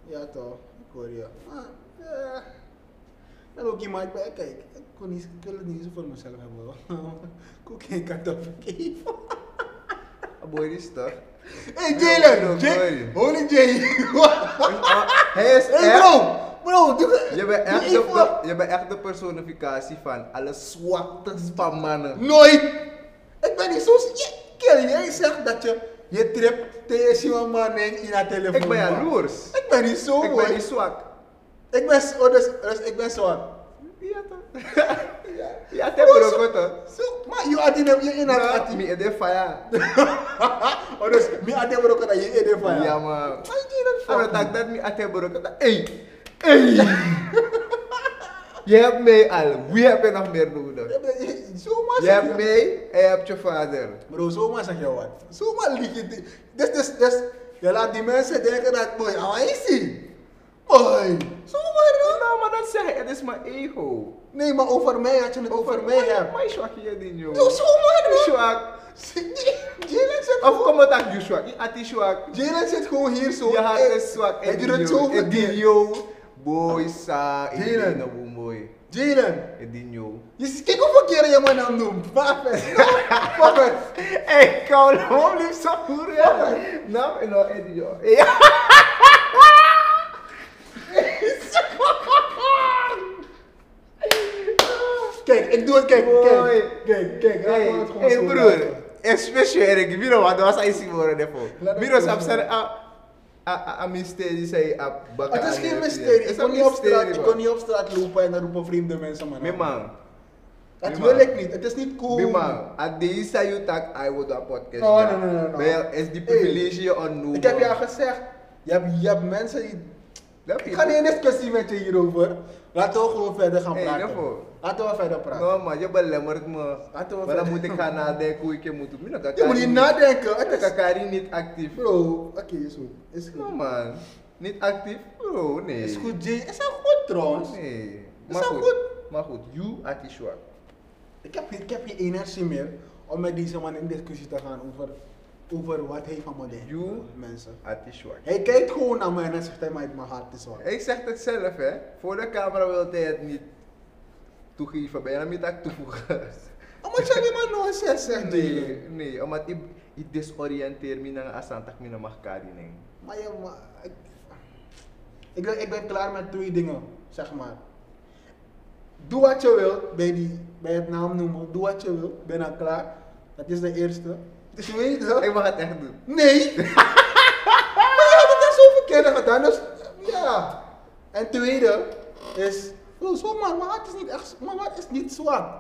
[SPEAKER 2] Ja toch, ik hoor je. Maar, eh, en ook iemand, ik ben- kijk, ik, kon niet, ik wil het niet zo voor mezelf hebben hoor. Ik hoef geen kartoffel geven.
[SPEAKER 1] Boy, dit is toch.
[SPEAKER 2] Hey
[SPEAKER 1] hoor
[SPEAKER 2] Jalen,
[SPEAKER 1] je, hoor
[SPEAKER 2] Jay,
[SPEAKER 1] je.
[SPEAKER 2] holy Jay.
[SPEAKER 1] Hij is echt-
[SPEAKER 2] hey Eh, bro, bro, doe-
[SPEAKER 1] Je bent echt,
[SPEAKER 2] doe
[SPEAKER 1] de,
[SPEAKER 2] even-
[SPEAKER 1] per- je bent echt de personificatie van alle zwaktes van mannen.
[SPEAKER 2] Nooit! Ik ben niet zo. Je, kerel, jij zegt dat je je trip tegen je man en in haar telefoon.
[SPEAKER 1] Ik ben jaloers.
[SPEAKER 2] Ik ben niet zo,
[SPEAKER 1] Ik
[SPEAKER 2] hoor.
[SPEAKER 1] ben niet zwak.
[SPEAKER 2] Ik ben zo, dus, dus ik ben zo.
[SPEAKER 1] Ja toch? Ja, te
[SPEAKER 2] Oh,
[SPEAKER 1] brokken toch?
[SPEAKER 2] Zo, maar je had in je in haar
[SPEAKER 1] Nou,
[SPEAKER 2] ati.
[SPEAKER 1] mi ede faya.
[SPEAKER 2] Oh, dus, mi had hem ook dat je in haar van
[SPEAKER 1] Ja
[SPEAKER 2] ja.
[SPEAKER 1] man.
[SPEAKER 2] Maar je
[SPEAKER 1] Aan
[SPEAKER 2] dat
[SPEAKER 1] het dag dat mi ate brokken dat, hey, hey. Je hebt mij al, wie heb je nog meer nodig?
[SPEAKER 2] fuck. Zomaar
[SPEAKER 1] Je hebt
[SPEAKER 2] zeg je.
[SPEAKER 1] mij en je hebt je vader.
[SPEAKER 2] "Eh, Bro, zomaar zeg je wat. Zomaar lieg je. dit. Dus, dus, dus. Je laat die mensen denken dat, boy, ah, hij is hij. Boy.
[SPEAKER 1] um
[SPEAKER 2] Zomaar, bro.
[SPEAKER 1] Nou, maar dat zeg ik, het is mijn ego.
[SPEAKER 2] Nee, maar over mij had je het over mij,
[SPEAKER 1] Maar-
[SPEAKER 2] hebt.
[SPEAKER 1] Maar je zwak je ding joh.
[SPEAKER 2] Zo, zomaar,
[SPEAKER 1] Je
[SPEAKER 2] bro.
[SPEAKER 1] zwak.
[SPEAKER 2] Jalen zit,
[SPEAKER 1] Of
[SPEAKER 2] gewoon-
[SPEAKER 1] kom het aan je zwak, je ati zwak.
[SPEAKER 2] Jalen zit gewoon hier zo.
[SPEAKER 1] Je hart
[SPEAKER 2] Hey,
[SPEAKER 1] is zwak.
[SPEAKER 2] Hij
[SPEAKER 1] Ik
[SPEAKER 2] doet het zo
[SPEAKER 1] Ik die
[SPEAKER 2] verkeerd.
[SPEAKER 1] jou. Boy, sa, ik
[SPEAKER 2] Dylan.
[SPEAKER 1] ben een boy.
[SPEAKER 2] Jalen,
[SPEAKER 1] Ik die jou.
[SPEAKER 2] je ziet- kijk hoeveel keren je mijn naam noemt. Perfect. Perfect.
[SPEAKER 1] Hey, Carl, waarom liep zo goed? Ja. Nou, en dan Eddie, joh. Ja.
[SPEAKER 2] Kijk, ik doe het. Kijk,
[SPEAKER 1] Mooi.
[SPEAKER 2] kijk. Kijk, kijk. laat
[SPEAKER 1] Hey,
[SPEAKER 2] me het gewoon
[SPEAKER 1] hey
[SPEAKER 2] zo
[SPEAKER 1] broer.
[SPEAKER 2] laten.
[SPEAKER 1] Especially Eric, miro wat was hij zien worden
[SPEAKER 2] Laat
[SPEAKER 1] daarvoor.
[SPEAKER 2] het
[SPEAKER 1] Miro is
[SPEAKER 2] gewoon
[SPEAKER 1] op
[SPEAKER 2] zo.
[SPEAKER 1] zijn a a a mysterie zei op bakken.
[SPEAKER 2] Het is
[SPEAKER 1] aan
[SPEAKER 2] geen
[SPEAKER 1] je
[SPEAKER 2] mysterie.
[SPEAKER 1] vriend.
[SPEAKER 2] Ik
[SPEAKER 1] Is
[SPEAKER 2] kon,
[SPEAKER 1] een
[SPEAKER 2] niet op straat,
[SPEAKER 1] mysterie,
[SPEAKER 2] ik
[SPEAKER 1] man.
[SPEAKER 2] kon niet op straat lopen en dan roepen vreemde mensen maar.
[SPEAKER 1] Mijn man,
[SPEAKER 2] Dat
[SPEAKER 1] mijn
[SPEAKER 2] wil
[SPEAKER 1] man.
[SPEAKER 2] ik niet. Het is niet cool.
[SPEAKER 1] mijn man, als deze zou je tak, I would have podcast.
[SPEAKER 2] No,
[SPEAKER 1] ja.
[SPEAKER 2] no, no, no, no.
[SPEAKER 1] Maar ja, is die
[SPEAKER 2] Hey.
[SPEAKER 1] privilege je onnoemd?
[SPEAKER 2] Ik heb je al gezegd. Je hebt, je hebt mensen die
[SPEAKER 1] Dat
[SPEAKER 2] Ik ga niet in discussie met je hierover. Laten we gewoon verder gaan
[SPEAKER 1] Hey,
[SPEAKER 2] praten.
[SPEAKER 1] daarvoor.
[SPEAKER 2] Laten we verder praten.
[SPEAKER 1] No man, je belemmert me.
[SPEAKER 2] Laten we
[SPEAKER 1] Maar dan
[SPEAKER 2] verder.
[SPEAKER 1] moet ik gaan nadenken hoe ik je moet doen. Mina
[SPEAKER 2] Je moet
[SPEAKER 1] Kakari
[SPEAKER 2] niet
[SPEAKER 1] niet-
[SPEAKER 2] nadenken.
[SPEAKER 1] Mina
[SPEAKER 2] Het is...
[SPEAKER 1] Kakari niet actief.
[SPEAKER 2] Bro, oké, is goed. Is goed.
[SPEAKER 1] No man, niet actief? Bro, nee.
[SPEAKER 2] Is goed, Jay. Is dat goed trouwens?
[SPEAKER 1] Nee.
[SPEAKER 2] Is
[SPEAKER 1] Maar
[SPEAKER 2] dat
[SPEAKER 1] goed,
[SPEAKER 2] goed?
[SPEAKER 1] maar goed, you at Ishwak.
[SPEAKER 2] Ik, heb, ik heb geen energie meer om met deze man in discussie te gaan over, over wat hij van me denkt.
[SPEAKER 1] You.
[SPEAKER 2] Mensen.
[SPEAKER 1] At Ishwak.
[SPEAKER 2] Hij kijkt gewoon naar mij en dan zegt hij maar uit mijn hart is wat.
[SPEAKER 1] Ik zeg het zelf hè, voor de camera wilde hij het niet toegeven, ben je hem niet aan het toevoegen.
[SPEAKER 2] Omdat jij niet maar nonsens zegt,
[SPEAKER 1] Nee,
[SPEAKER 2] Jay.
[SPEAKER 1] nee, omdat ik, ik desoriënteer me naar Asantak, me naar Magkari. nee.
[SPEAKER 2] Maar ja, maar... Ik, ik, ben, ik ben klaar met twee dingen, zeg maar. Doe wat je wilt bij, die, bij het naam noemen. Doe wat je wilt. Ik Ben dan klaar. Dat is de eerste. De tweede...
[SPEAKER 1] Ik mag het echt doen.
[SPEAKER 2] Nee! maar je hebt het al zoveel keren gedaan, dus... Ja. En tweede is... Bro, zo maar, mijn hart is niet echt... Mijn hart is niet zwak.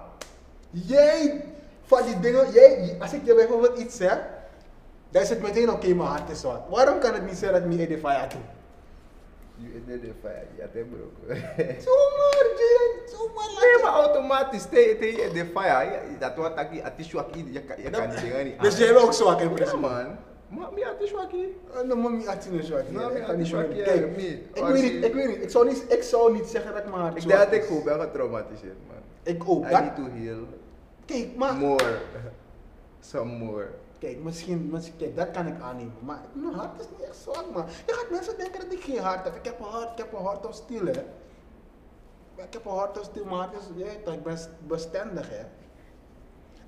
[SPEAKER 2] Jij... Van die dingen... Jij, als ik je bijvoorbeeld iets zeg... Dan is het meteen oké, mijn hart is zwak. Waarom kan het niet zijn dat ik me edify doe?
[SPEAKER 1] Je deed het fijn, je had hem broek.
[SPEAKER 2] Zomaar, Jalen. Zomaar, laat
[SPEAKER 1] Nee,
[SPEAKER 2] je-
[SPEAKER 1] maar automatisch, tegen tegen de é fire, ja, dat wordt dat je atishwak in, je kan je kan die dingen niet
[SPEAKER 2] Dus
[SPEAKER 1] aan.
[SPEAKER 2] jij bent ook zwak in
[SPEAKER 1] Ja
[SPEAKER 2] principe?
[SPEAKER 1] man, maar me atishwak in.
[SPEAKER 2] Eh, No, maar mijn hart is niet zwak.
[SPEAKER 1] No, mijn
[SPEAKER 2] Ik
[SPEAKER 1] hart
[SPEAKER 2] kan
[SPEAKER 1] is
[SPEAKER 2] niet
[SPEAKER 1] zwak,
[SPEAKER 2] meer-
[SPEAKER 1] ja,
[SPEAKER 2] Kijk,
[SPEAKER 1] nee.
[SPEAKER 2] Ik
[SPEAKER 1] Als
[SPEAKER 2] weet
[SPEAKER 1] je-
[SPEAKER 2] niet, ik weet niet. Ik zou niet, ik zou niet zeggen dat ik mijn hart
[SPEAKER 1] Ik
[SPEAKER 2] zwak
[SPEAKER 1] denk dat ik
[SPEAKER 2] is.
[SPEAKER 1] goed ben getraumatiseerd man.
[SPEAKER 2] Ik ook.
[SPEAKER 1] I
[SPEAKER 2] Dat-
[SPEAKER 1] need to heal
[SPEAKER 2] Kijk, maar...
[SPEAKER 1] more, some more.
[SPEAKER 2] Kijk, misschien, misschien kijk, dat kan ik aannemen, maar mijn hart is niet echt zwak, man. Je gaat mensen denken dat ik geen hart heb. Ik heb een hart, ik heb een hart of steel, hè. Maar Ik heb een hart of steel, maar het is, je weet toch, ik ben bestendig, hè.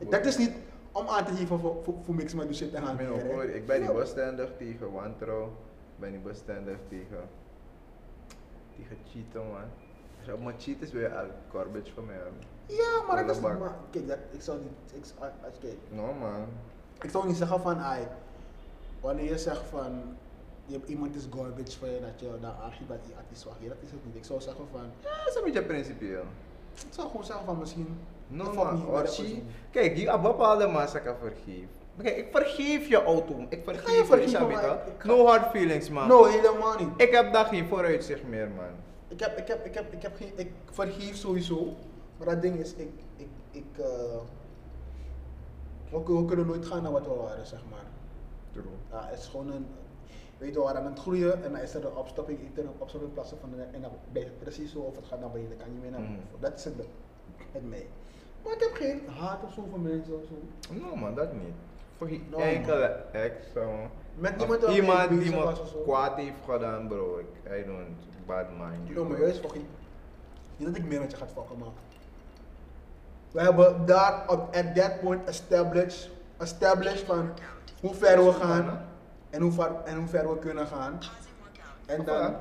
[SPEAKER 2] Dat is niet om aan te geven voor, voor, voor niks met die shit te gaan
[SPEAKER 1] Ik ben,
[SPEAKER 2] doen,
[SPEAKER 1] ook,
[SPEAKER 2] hè.
[SPEAKER 1] hoor, ik ben niet
[SPEAKER 2] Ja.
[SPEAKER 1] bestendig tegen wantrouw. Ik ben niet bestendig tegen. tegen cheaten, man. Als je op me cheat is, ben je al garbage voor mij. hoor.
[SPEAKER 2] Ja, maar dat is
[SPEAKER 1] Prullenbak.
[SPEAKER 2] maar, Kijk, dat, ik zou niet, ik, zou- als- kijk,
[SPEAKER 1] No, Nou, man.
[SPEAKER 2] ik zou niet zeggen van, ai, wanneer je zegt van, je, iemand is garbage voor je, dat je dan aangeeft dat je is zwak is. Dat is het niet. Ik zou zeggen van,
[SPEAKER 1] Ja, dat is een beetje principieel.
[SPEAKER 2] ik zou gewoon zeggen van misschien...
[SPEAKER 1] No,
[SPEAKER 2] dat valt
[SPEAKER 1] man.
[SPEAKER 2] niet bij de
[SPEAKER 1] Orchie.
[SPEAKER 2] persoon.
[SPEAKER 1] Kijk, je hebt bepaalde massa kan vergeven. Oké, ik vergeef je, auto. Ik vergeef
[SPEAKER 2] je
[SPEAKER 1] je,
[SPEAKER 2] vergeven,
[SPEAKER 1] snap je,
[SPEAKER 2] maar
[SPEAKER 1] toch?
[SPEAKER 2] ik ga-
[SPEAKER 1] No hard feelings, man.
[SPEAKER 2] No, helemaal niet.
[SPEAKER 1] Ik heb daar geen vooruitzicht meer, man.
[SPEAKER 2] Ik heb, ik heb, ik heb, ik heb geen, ik vergeef sowieso. Maar dat ding is, ik, ik, ik, eh, we, kun- we kunnen nooit gaan naar wat we waren, zeg maar.
[SPEAKER 1] True.
[SPEAKER 2] Ja, het is gewoon een, weet je, we waren aan het groeien en dan is er een opstopping, ik denk een opstopping plaatsen van de, en dan ben je precies zo of het gaat naar beneden, kan je meer naar
[SPEAKER 1] Mhm.
[SPEAKER 2] boven. Dat is het met- met mij. Maar ik heb geen haat of zo van mensen of zo.
[SPEAKER 1] No, man, dat niet. Voor geen
[SPEAKER 2] No, man.
[SPEAKER 1] enkele ex, man.
[SPEAKER 2] Met
[SPEAKER 1] Of
[SPEAKER 2] niemand
[SPEAKER 1] Ah,
[SPEAKER 2] waarmee je
[SPEAKER 1] iemand
[SPEAKER 2] bezig
[SPEAKER 1] die me
[SPEAKER 2] was of zo.
[SPEAKER 1] kwaad heeft gedaan, bro. Ik, I don't bad mind you.
[SPEAKER 2] No, maar
[SPEAKER 1] bro.
[SPEAKER 2] juist fucking. Niet dat ik meer met je gaat fucken, maar. We hebben daar op at that point established, established van hoe ver we gaan en hoe ver, en hoe ver we kunnen gaan. En dan,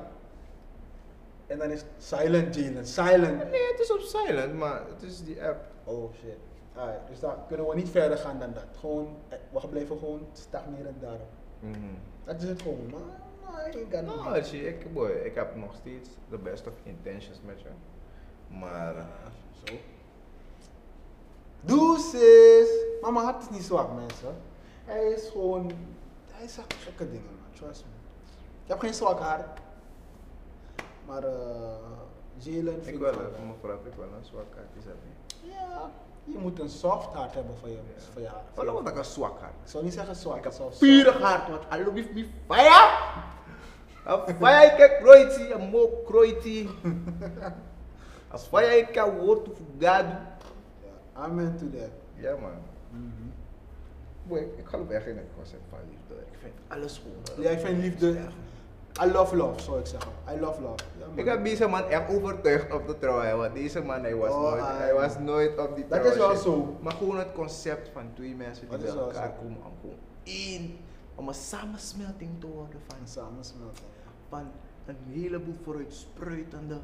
[SPEAKER 2] en dan is silent Jalen, silent.
[SPEAKER 1] Nee, het is op silent, maar het is die app.
[SPEAKER 2] Oh shit. Alright, dus daar kunnen we niet verder gaan dan dat. Gewoon, eh, we blijven gewoon stagneren daarop.
[SPEAKER 1] Mhm.
[SPEAKER 2] Dat is het gewoon, maar nee, ik kan
[SPEAKER 1] Nou,
[SPEAKER 2] niet.
[SPEAKER 1] zie je, ik, é boy, ik heb nog steeds de best of intentions met je. Maar, eh,
[SPEAKER 2] Zo. Deuces! Maar mijn hart is niet zwak, mensen. Hij is gewoon. Hij zegt gekke dingen, man. Trust me. Ik heb geen zwak hart. Maar, eh. Jalen vind
[SPEAKER 1] ik wel,
[SPEAKER 2] wel-
[SPEAKER 1] even mevrouw, ik wel een zwak hart is dat niet.
[SPEAKER 2] Ja, je moet een soft hart hebben voor je, voor je hart.
[SPEAKER 1] Waarom heb ik een zwak hart?
[SPEAKER 2] Ik zou niet zeggen zwak, ik zou
[SPEAKER 1] Pure
[SPEAKER 2] soft.
[SPEAKER 1] hart, want I love me fire! Een fire ik heb kroiti, een mo kroiti. Een fire ik heb woord voor God.
[SPEAKER 2] Ja, amen to that.
[SPEAKER 1] Ja man. Mhm. Boy, ik- ik geloof echt in het concept van liefde. Ik vind alles goed.
[SPEAKER 2] Ja, ik vind liefde. I love love, zou ik zeggen. I love love. Ja, man.
[SPEAKER 1] Ik heb deze man echt overtuigd op de trouw, hè, want deze man hij was,
[SPEAKER 2] Oh,
[SPEAKER 1] nooit,
[SPEAKER 2] ah,
[SPEAKER 1] hij was nooit op die
[SPEAKER 2] Dat
[SPEAKER 1] trouw.
[SPEAKER 2] is wel
[SPEAKER 1] shit.
[SPEAKER 2] zo.
[SPEAKER 1] Maar gewoon het concept van twee mensen die
[SPEAKER 2] Dat is
[SPEAKER 1] bij
[SPEAKER 2] wel
[SPEAKER 1] elkaar
[SPEAKER 2] zo.
[SPEAKER 1] komen om gewoon één, om een samensmelting te worden van
[SPEAKER 2] Een samensmelting. ja.
[SPEAKER 1] van een heleboel vooruitspruitende,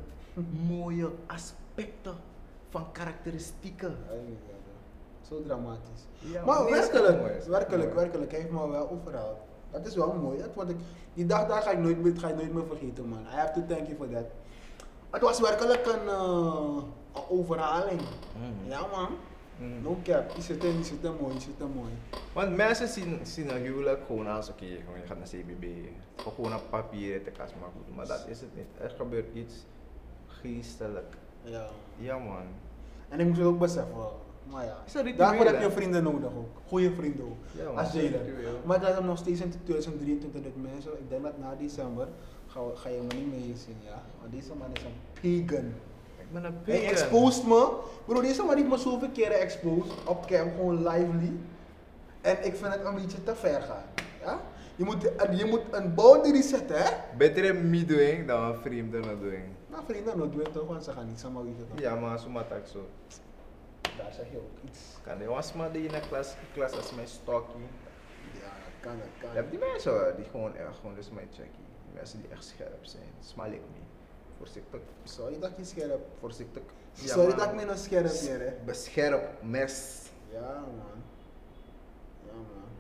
[SPEAKER 1] mooie aspecten van karakteristieken.
[SPEAKER 2] Ja, ik weet het wel. Zo dramatisch.
[SPEAKER 1] Ja,
[SPEAKER 2] maar
[SPEAKER 1] nee, dat is
[SPEAKER 2] werkelijk,
[SPEAKER 1] mooi, dat is
[SPEAKER 2] werkelijk,
[SPEAKER 1] mooi.
[SPEAKER 2] werkelijk, hij heeft me wel overhaald. Dat is wel mooi. Dat vond ik, die dag daar ga ik, nooit, meer- ga ik nooit meer vergeten, man. I have to thank you for that. Het was werkelijk een, eh, een overhaling.
[SPEAKER 1] Mm. Mhm.
[SPEAKER 2] Ja, man. No cap. Je zit er, je zit er mooi, je zit er mooi.
[SPEAKER 1] Want mensen zien, zien een huwelijk gewoon als oké, gewoon je gaat naar CBB, of gewoon een papier te kast maar goed. Maar dat is het niet. Er gebeurt iets geestelijk.
[SPEAKER 2] Ja.
[SPEAKER 1] Ja man.
[SPEAKER 2] En ik moest het ook beseffen. Maar ja,
[SPEAKER 1] Is dat ritueel,
[SPEAKER 2] daarvoor heb je
[SPEAKER 1] hè?
[SPEAKER 2] vrienden nodig ook. Goede vrienden ook.
[SPEAKER 1] Ja, man,
[SPEAKER 2] als
[SPEAKER 1] dat is
[SPEAKER 2] Jalen.
[SPEAKER 1] ritueel.
[SPEAKER 2] Maar dat is nog steeds in 2023 dat mensen, ik denk dat na december, ga, ga je me niet meer zien, ja. Want deze man is een pagan.
[SPEAKER 1] Ik ben een
[SPEAKER 2] Hij
[SPEAKER 1] pagan.
[SPEAKER 2] exposed me. Bro, deze man heeft me zoveel keren exposed. Op cam, gewoon lively. En ik vind het een beetje te ver gaan. Ja? Je, moet, je moet een boundary zetten, hè?
[SPEAKER 1] Beter een me doing dan een vreemde not doing.
[SPEAKER 2] Nou, vrienden, dat doen we toch, want ze gaan niet samen weten.
[SPEAKER 1] Ja man, zo maak ik zo.
[SPEAKER 2] Daar zeg je ook iets.
[SPEAKER 1] Kan de jongens maar die in de klas, klas als mijn stalking.
[SPEAKER 2] Ja, dat kan, dat kan.
[SPEAKER 1] Je hebt die mensen hoor, die gewoon echt gewoon, dus mijn checkie. Die mensen die echt scherp zijn. Smal ik niet. Voorzichtig,
[SPEAKER 2] Sorry dat ik je scherp.
[SPEAKER 1] voorzichtig.
[SPEAKER 2] Sorry
[SPEAKER 1] man.
[SPEAKER 2] dat ik me nog scherp ben, hè?
[SPEAKER 1] Bescherp, mes.
[SPEAKER 2] Ja, man. Ja, man.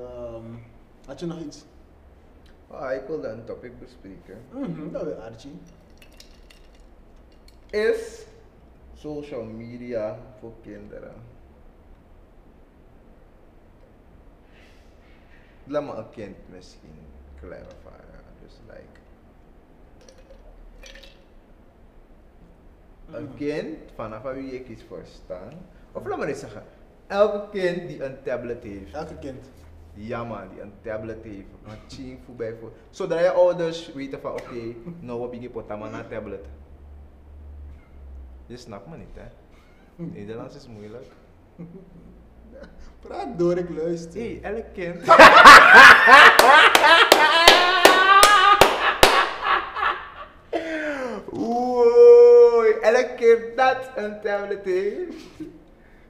[SPEAKER 2] Ehm, had je nog iets?
[SPEAKER 1] Ah, ik wilde een topic bespreken.
[SPEAKER 2] Mhm, Dat wil Archie.
[SPEAKER 1] Mhm. Is social media voor kinderen? Laat me een kind misschien clarifieren. Dus like.
[SPEAKER 2] Mhm.
[SPEAKER 1] Een kind vanaf wie ik iets verstaan. Of laat maar eens zeggen. Elk kind die een tablet heeft.
[SPEAKER 2] Elke kind.
[SPEAKER 1] Ja man, die een tablet heeft. Een ching voorbij voor. Zodra je ouders weten van oké, nou wat begin potama na tablet. Je snapt me niet hè. Nederlands is moeilijk.
[SPEAKER 2] Praat door, ik luister.
[SPEAKER 1] Hé, elk kind. Oei, elk kind dat een tablet heeft.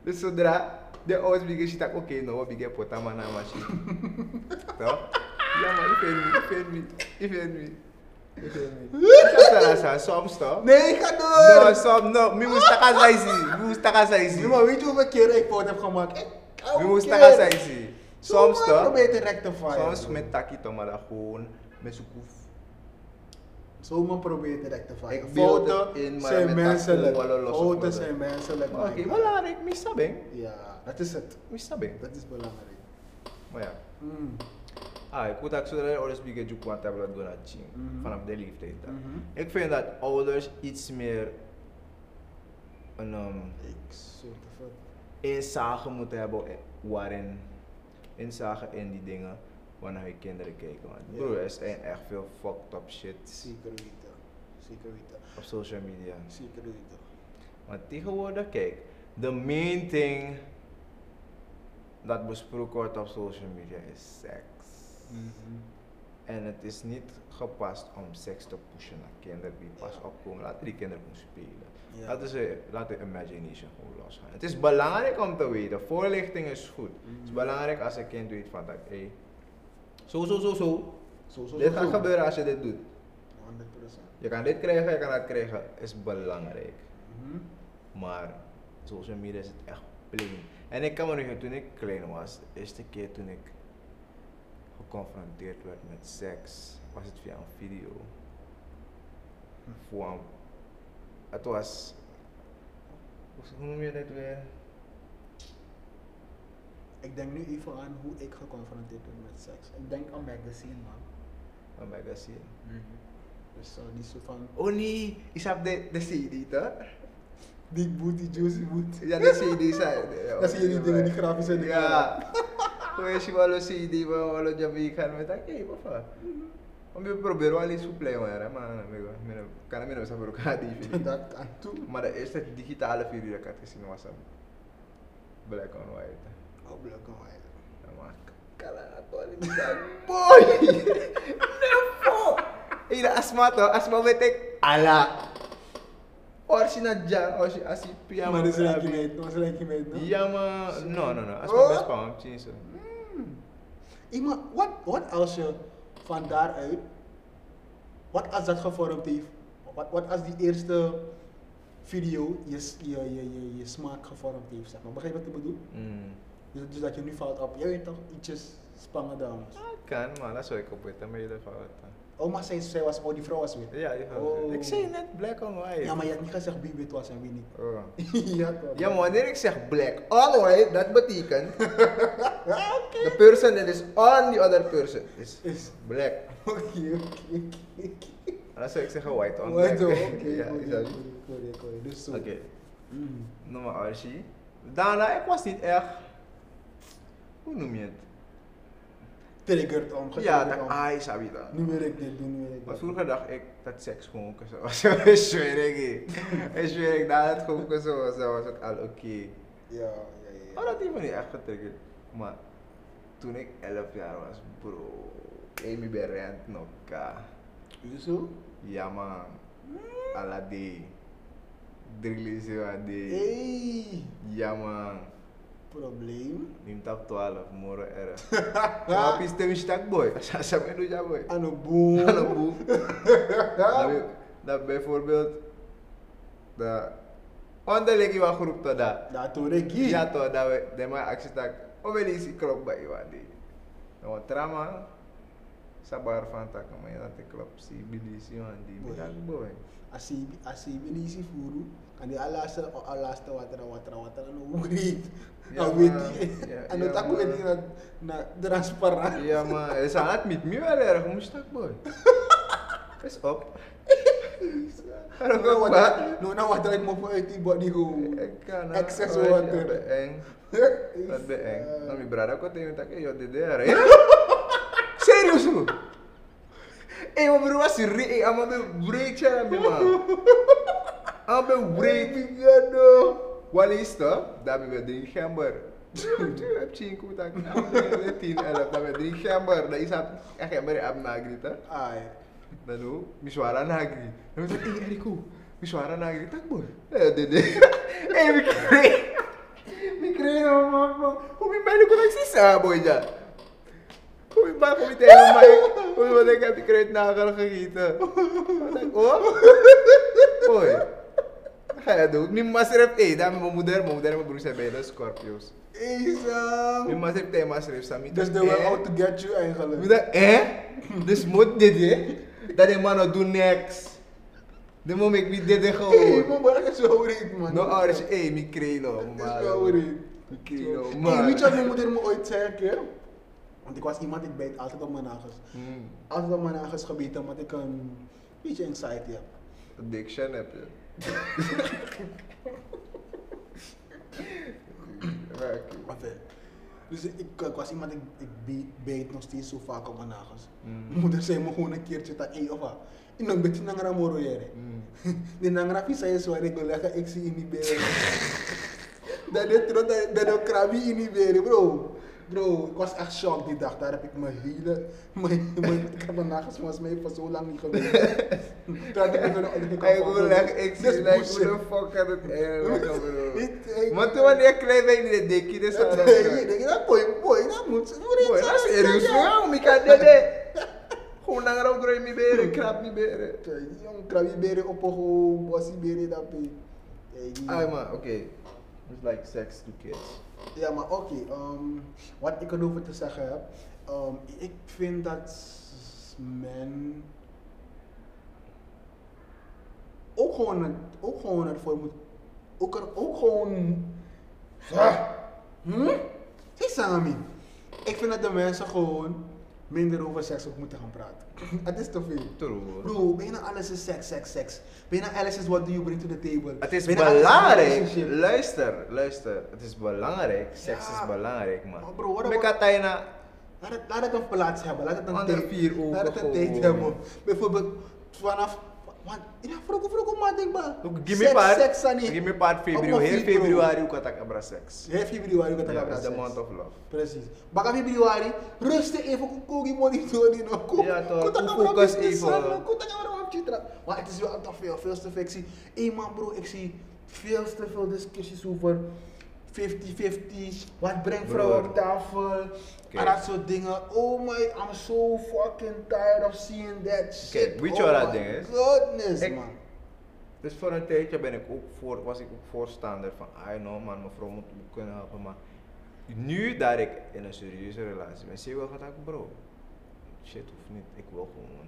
[SPEAKER 1] Dus zodra de ouders beginnen, zit ik oké, nou wat begin potama na machine. Toch? Ja man, ik vind me, ik vind me, ik vind me. Ik vind me. Dat is wel zo, soms toch?
[SPEAKER 2] Nee, ik ga door!
[SPEAKER 1] No, soms, no. Mi moest takas sa isi. Mi moest takas sa isi.
[SPEAKER 2] Nee, maar weet je hoeveel keren ik fout heb gemaakt? Ik
[SPEAKER 1] Mi moest takas sa isi. Soms
[SPEAKER 2] toch?
[SPEAKER 1] toch?
[SPEAKER 2] probeer te rectifieren.
[SPEAKER 1] Soms met taki tomada gewoon, met zoekhoef.
[SPEAKER 2] Zomaar probeer te rectifieren.
[SPEAKER 1] Ik beeld het
[SPEAKER 2] Fouten
[SPEAKER 1] in, maar
[SPEAKER 2] zijn
[SPEAKER 1] met
[SPEAKER 2] menselijk.
[SPEAKER 1] akkoorden lossen we
[SPEAKER 2] Fouten
[SPEAKER 1] het.
[SPEAKER 2] zijn menselijk.
[SPEAKER 1] Oké, okay,
[SPEAKER 2] man.
[SPEAKER 1] belangrijk, mistabing.
[SPEAKER 2] Ja, dat is het.
[SPEAKER 1] Mistabing.
[SPEAKER 2] Dat is belangrijk.
[SPEAKER 1] Maar ja.
[SPEAKER 2] Mm.
[SPEAKER 1] Ah, ik moet ook zo dat ouders begin te kwaad hebben door dat zien.
[SPEAKER 2] Mhm.
[SPEAKER 1] Vanaf de leeftijd. dan.
[SPEAKER 2] Mhm.
[SPEAKER 1] Ik vind dat ouders iets meer een ehm,
[SPEAKER 2] Ik soort van.
[SPEAKER 1] inzage moeten hebben in- waarin inzage in die dingen wanneer je kinderen kijken. Want
[SPEAKER 2] Ja.
[SPEAKER 1] broer, er zijn echt veel fucked up shit
[SPEAKER 2] Zeker weten. Zeker weten.
[SPEAKER 1] op social media.
[SPEAKER 2] Zeker weten.
[SPEAKER 1] Want tegenwoordig, kijk, de main thing dat besproken wordt op social media is seks. Mhm. En het is niet gepast om seks te pushen naar kinderen die pas opkomen. Laat die kinderen gewoon spelen.
[SPEAKER 2] Ja.
[SPEAKER 1] Laat, ze, laat de imagination gewoon losgaan. Het is belangrijk om te weten. Voorlichting is goed. Het is belangrijk als een kind weet van dat, hé, Mhm. zo, zo, zo, zo.
[SPEAKER 2] Zo, zo,
[SPEAKER 1] dit
[SPEAKER 2] zo,
[SPEAKER 1] gaat
[SPEAKER 2] zo.
[SPEAKER 1] gebeuren als je dit doet.
[SPEAKER 2] 100%.
[SPEAKER 1] Je kan dit krijgen, je kan dat krijgen. Is belangrijk.
[SPEAKER 2] Mhm.
[SPEAKER 1] Maar social media is het echt plain. En ik kan me nog herinneren, toen ik klein was, de eerste keer toen ik geconfronteerd werd met seks, was het via een video. Voor een, het was, hoe- hoe noem je dat weer?
[SPEAKER 2] Ik denk nu even aan hoe ik geconfronteerd ben met seks. Ik denk aan magazine, man.
[SPEAKER 1] Een magazine.
[SPEAKER 2] Dus eh, die soort van
[SPEAKER 1] Oh nee, je hebt de, de CD toch?
[SPEAKER 2] big booty, juicy booty.
[SPEAKER 1] Ja, de CD zijn.
[SPEAKER 2] Dan zie je die dingen, die grafische dingen.
[SPEAKER 1] Ja. Hoe is je wel een CD, wel een Jamaica, met dat kei, papa. Om je proberen wel iets te play, maar man, ik kan hem niet voor elkaar die video.
[SPEAKER 2] Dat kan toe.
[SPEAKER 1] Maar de eerste digitale video die ik had gezien was een black and white.
[SPEAKER 2] Oh, black and white.
[SPEAKER 1] Ja, maar kalatoor in de boy. Nepo. Ida asma to, asma betek ala. Original jan, original asi pia.
[SPEAKER 2] Maar dat is Ranky Mate, dat is Ranky Mate, no?
[SPEAKER 1] Ja, maar. No, no, no. Als
[SPEAKER 2] Oh.
[SPEAKER 1] mijn best pan, misschien zo.
[SPEAKER 2] Iemand, wat, wat als je van daaruit, wat als dat gevormd heeft, wat, wat als die eerste video je, s- je, je, je, je smaak gevormd heeft, zeg maar. Begrijp je wat ik bedoel?
[SPEAKER 1] Mm.
[SPEAKER 2] Dus, dus dat je nu valt op, jij weet toch, ietsjes spangen dames.
[SPEAKER 1] Ah, kan, maar dat zou ik op weten, maar je ervan wat.
[SPEAKER 2] Oh, maar zij, zij was, oh die vrouw was wit.
[SPEAKER 1] Ja, je van.
[SPEAKER 2] Oh.
[SPEAKER 1] Ik zei net black on white.
[SPEAKER 2] Ja, maar je had niet gezegd wie wit was en wie niet.
[SPEAKER 1] Oh.
[SPEAKER 2] ja, toch.
[SPEAKER 1] Ja, maar wanneer ik zeg black on white, dat betekent. The person that is on the other person is
[SPEAKER 2] Is-
[SPEAKER 1] black.
[SPEAKER 2] Oké, oké, oké, oké.
[SPEAKER 1] En dan zou ik zeggen white on
[SPEAKER 2] Oké,
[SPEAKER 1] black. ja, is dat-
[SPEAKER 2] oké, oké, oké. Dus zo.
[SPEAKER 1] Oké,
[SPEAKER 2] Mm.
[SPEAKER 1] noem maar Archie. Daarna, ik was niet echt. Hoe noem je het?
[SPEAKER 2] Triggered
[SPEAKER 1] ja,
[SPEAKER 2] om, getriggerd
[SPEAKER 1] dat
[SPEAKER 2] om.
[SPEAKER 1] ah, je sabi dat.
[SPEAKER 2] Nu wil ik dit doen, nu wil ik
[SPEAKER 1] Maar
[SPEAKER 2] dat.
[SPEAKER 1] vroeger dacht ik dat seks gewoon kussen was. Ik zweer ik niet. Ik zweer ik, nadat Nou, het gewoon kussen was, dan was het al oké.
[SPEAKER 2] Ja, ja, ja.
[SPEAKER 1] Maar dat heeft me niet echt getriggerd. Maar toen ik 11 jaar was, bro, Amy Berend nog.
[SPEAKER 2] Is het zo?
[SPEAKER 1] Ja man, Alade. Drillize Alade.
[SPEAKER 2] Hey,
[SPEAKER 1] Ja man,
[SPEAKER 2] probleem.
[SPEAKER 1] neem tap 12, morgen erg. Tapi stem stak boy, asa menu ja boy.
[SPEAKER 2] Aan een boom.
[SPEAKER 1] Hallo boe. Dat we- Dat bijvoorbeeld de onderling van groep tot dat.
[SPEAKER 2] Dat hoor ik hier.
[SPEAKER 1] Ja toch, dat we de maar actie tak. Om wel eens klop bij iemand die. Nou trama sabar van tak maar ja dat de klop si bili si man die
[SPEAKER 2] Boy.
[SPEAKER 1] bilang boy.
[SPEAKER 2] Als je als je in die voer, kan je alaster alaster water water water en hoe heet.
[SPEAKER 1] Ja,
[SPEAKER 2] Dan weet
[SPEAKER 1] maar-
[SPEAKER 2] je.
[SPEAKER 1] ja,
[SPEAKER 2] En
[SPEAKER 1] ja,
[SPEAKER 2] dat ook
[SPEAKER 1] maar-
[SPEAKER 2] weet je dat na transparant.
[SPEAKER 1] Ja maar is aan het met me wel erg om stak boy. Is op.
[SPEAKER 2] Nou,
[SPEAKER 1] Hallo
[SPEAKER 2] nou
[SPEAKER 1] wat.
[SPEAKER 2] wat- nou, nou wat ik me voor uit die body gewoon.
[SPEAKER 1] Ik kan
[SPEAKER 2] Excess
[SPEAKER 1] oh,
[SPEAKER 2] water.
[SPEAKER 1] ja, dat Eng. Dat ben eng.
[SPEAKER 2] Eh,
[SPEAKER 1] Não, meu brother, eu tenho até que eu de DR. Sério, isso? Ei, meu brother, se ri, ei, ama meu break, cara, meu mano. Ama meu break, ligado. Qual é isso, tá? Dá meu drink hammer. Eu heb 5, tá? Eu 10, 11, dá meu drink hammer. Daí sabe, a hammer é abnagri, tá?
[SPEAKER 2] Ai.
[SPEAKER 1] Lalu, miswara na agri. Lalu, eh, adikku, miswara na agri. Tak boleh. Eh, dede. eh, mikir. Mikir sama mama. Kami main aku nak sisa, boy, ja. Kami main, kami tengok main. Kami main dekat mikir nakal ke kita. Tak, oh. Boy. Kaya doon, may masarap eh. Dami mo mudar mo, mudar mo Bruce Abela, Scorpios.
[SPEAKER 2] Isa.
[SPEAKER 1] May masarap tayo, masarap sa amin.
[SPEAKER 2] Dus
[SPEAKER 1] Tak,
[SPEAKER 2] they were
[SPEAKER 1] eh.
[SPEAKER 2] out to get you eigenlijk.
[SPEAKER 1] We dachten, hè? Dus moet dit, hè? dat die mannen doen niks. De moment ik wie dit en
[SPEAKER 2] Hey,
[SPEAKER 1] gewoon.
[SPEAKER 2] man, maar dat is wel reed, man.
[SPEAKER 1] No eh, ouders, hé, hey, mi krelo,
[SPEAKER 2] Dat
[SPEAKER 1] man.
[SPEAKER 2] is wel reed.
[SPEAKER 1] Mi krelo,
[SPEAKER 2] Hey,
[SPEAKER 1] man.
[SPEAKER 2] weet je wat mijn moeder me ooit zei een keer? Want ik was iemand, ik bijt altijd op mijn nagels.
[SPEAKER 1] Hmm,
[SPEAKER 2] Altijd op mijn nagels gebeten, omdat ik een beetje anxiety heb.
[SPEAKER 1] Een dik shen heb je. Werk je.
[SPEAKER 2] Maar ver. eh, Dus ik, ik was iemand, ik, ik beet- beet nog steeds zo vaak op mijn nagels.
[SPEAKER 1] Mm.
[SPEAKER 2] Mijn moeder zei me gewoon een keertje dat, hé, of wat? Ik ben beetje nangra moro jere.
[SPEAKER 1] Hmm.
[SPEAKER 2] De nangra visa is waar ik wil leggen, ik zie in die beren. Dat is tro- dat- dat ik krabi in die beren, bro. Bro, ik was echt shocked die dag. Daar heb ik mijn hele, mijn, mijn, ik heb mijn nagels volgens mij voor zo lang niet gewerkt. Daar heb ik een
[SPEAKER 1] Ik wil echt, ik zie like, hoe de fuck had het eigenlijk
[SPEAKER 2] Dit-
[SPEAKER 1] Maar toen wanneer ik klein ben, ik denk je, dit is aan
[SPEAKER 2] Dat
[SPEAKER 1] het
[SPEAKER 2] je
[SPEAKER 1] werk.
[SPEAKER 2] denkt, dat boy, boy, dat moet ze.
[SPEAKER 1] Boy, dat is serieus, hoor, om ik aan dit, hè. Gewoon langer ook door in mijn beren, krap mijn beren.
[SPEAKER 2] Jong, krabi beren op ogen, bossie beren dat pe. gitu.
[SPEAKER 1] Ah, man, oké. It's like sex to kids.
[SPEAKER 2] Ja, maar oké, ehm, wat ik erover te zeggen heb. ehm, ik vind dat men ook gewoon, het- ook gewoon ervoor moet. Ook, er, ook gewoon. Ja. Hm? Zeg Sami. Ik vind dat de mensen gewoon minder over seks ook moeten gaan praten. het is te veel.
[SPEAKER 1] True.
[SPEAKER 2] Bro, bijna alles is seks, seks, seks. Bijna alles is what do you bring to the table.
[SPEAKER 1] Het is
[SPEAKER 2] Bijna alles
[SPEAKER 1] belangrijk,
[SPEAKER 2] relationship.
[SPEAKER 1] luister, luister. Het is belangrijk, seks
[SPEAKER 2] Ja.
[SPEAKER 1] is belangrijk,
[SPEAKER 2] Maar
[SPEAKER 1] man.
[SPEAKER 2] bro, what
[SPEAKER 1] Ik
[SPEAKER 2] about-
[SPEAKER 1] had daar na-
[SPEAKER 2] Laat het, laat het een plaats hebben, laat het een
[SPEAKER 1] Ander
[SPEAKER 2] tijd-
[SPEAKER 1] vier ogen
[SPEAKER 2] Laat het een
[SPEAKER 1] gewoon.
[SPEAKER 2] tijd hebben. Bijvoorbeeld vanaf. Want in de vroeg, vroeg, maar denkbaar.
[SPEAKER 1] Ook Give me part,
[SPEAKER 2] Seks, seks,
[SPEAKER 1] give me part februari, heel februari ook had ik abra seks.
[SPEAKER 2] Heel februari, wat
[SPEAKER 1] Ja,
[SPEAKER 2] ik
[SPEAKER 1] dat is de month of love.
[SPEAKER 2] Precies. Baka februari, rustig even, kogi monitoren. no. Ko-
[SPEAKER 1] Ja, toch.
[SPEAKER 2] kota
[SPEAKER 1] Ko-
[SPEAKER 2] kamera op
[SPEAKER 1] focus
[SPEAKER 2] je
[SPEAKER 1] even.
[SPEAKER 2] slaan, no. Kota kamera nou op je tra- Maar het is wel te veel, veel te veel. Ik zie, hé man bro, ik zie veel te veel discussies over 50-50, wat brengt vrouwen
[SPEAKER 1] Broer.
[SPEAKER 2] op tafel, en dat soort dingen. Oh my, I'm so fucking tired of seeing that shit.
[SPEAKER 1] weet je
[SPEAKER 2] Oh
[SPEAKER 1] wat dat
[SPEAKER 2] my
[SPEAKER 1] ding is?
[SPEAKER 2] Goodness,
[SPEAKER 1] Ik-
[SPEAKER 2] man.
[SPEAKER 1] Dus voor een tijdje ben ik ook voor, was ik ook voorstander van, ah no man, mevrouw moet me kunnen helpen, maar nu dat ik in een serieuze relatie ben, zie ik wel van, ah, bro, shit e hoeft niet, ik wil gewoon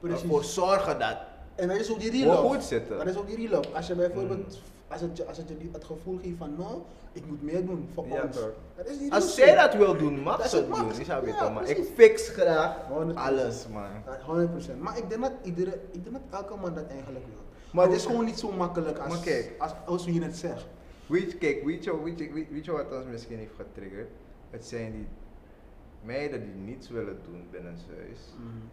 [SPEAKER 2] Precies.
[SPEAKER 1] ervoor zorgen dat,
[SPEAKER 2] En dat is ook die
[SPEAKER 1] Wel
[SPEAKER 2] real love.
[SPEAKER 1] goed zitten.
[SPEAKER 2] Dat is ook die real love. Als je bijvoorbeeld,
[SPEAKER 1] Mm.
[SPEAKER 2] als, het, je- als het je die- het gevoel geeft van nou, ik moet meer doen voor
[SPEAKER 1] Ja,
[SPEAKER 2] ons.
[SPEAKER 1] toch.
[SPEAKER 2] Dat is die real
[SPEAKER 1] als zij
[SPEAKER 2] shit.
[SPEAKER 1] dat wil doen, mag
[SPEAKER 2] Dat
[SPEAKER 1] ze
[SPEAKER 2] is
[SPEAKER 1] het
[SPEAKER 2] mag
[SPEAKER 1] doen,
[SPEAKER 2] ze.
[SPEAKER 1] is dat
[SPEAKER 2] Ja,
[SPEAKER 1] weet je, maar ik
[SPEAKER 2] precies.
[SPEAKER 1] fix graag
[SPEAKER 2] 100%.
[SPEAKER 1] alles man.
[SPEAKER 2] Ja, 100%. Maar ik denk dat iedere, ik denk dat elke man dat eigenlijk wil. Maar
[SPEAKER 1] Maar
[SPEAKER 2] het is
[SPEAKER 1] hoe-
[SPEAKER 2] gewoon niet zo makkelijk als,
[SPEAKER 1] Maar kijk.
[SPEAKER 2] als, als hoe je het zegt.
[SPEAKER 1] Weet je, kijk, weet je, weet, je, weet, weet je wat ons misschien heeft getriggerd? Het zijn die meiden die niets willen doen binnen zijn huis.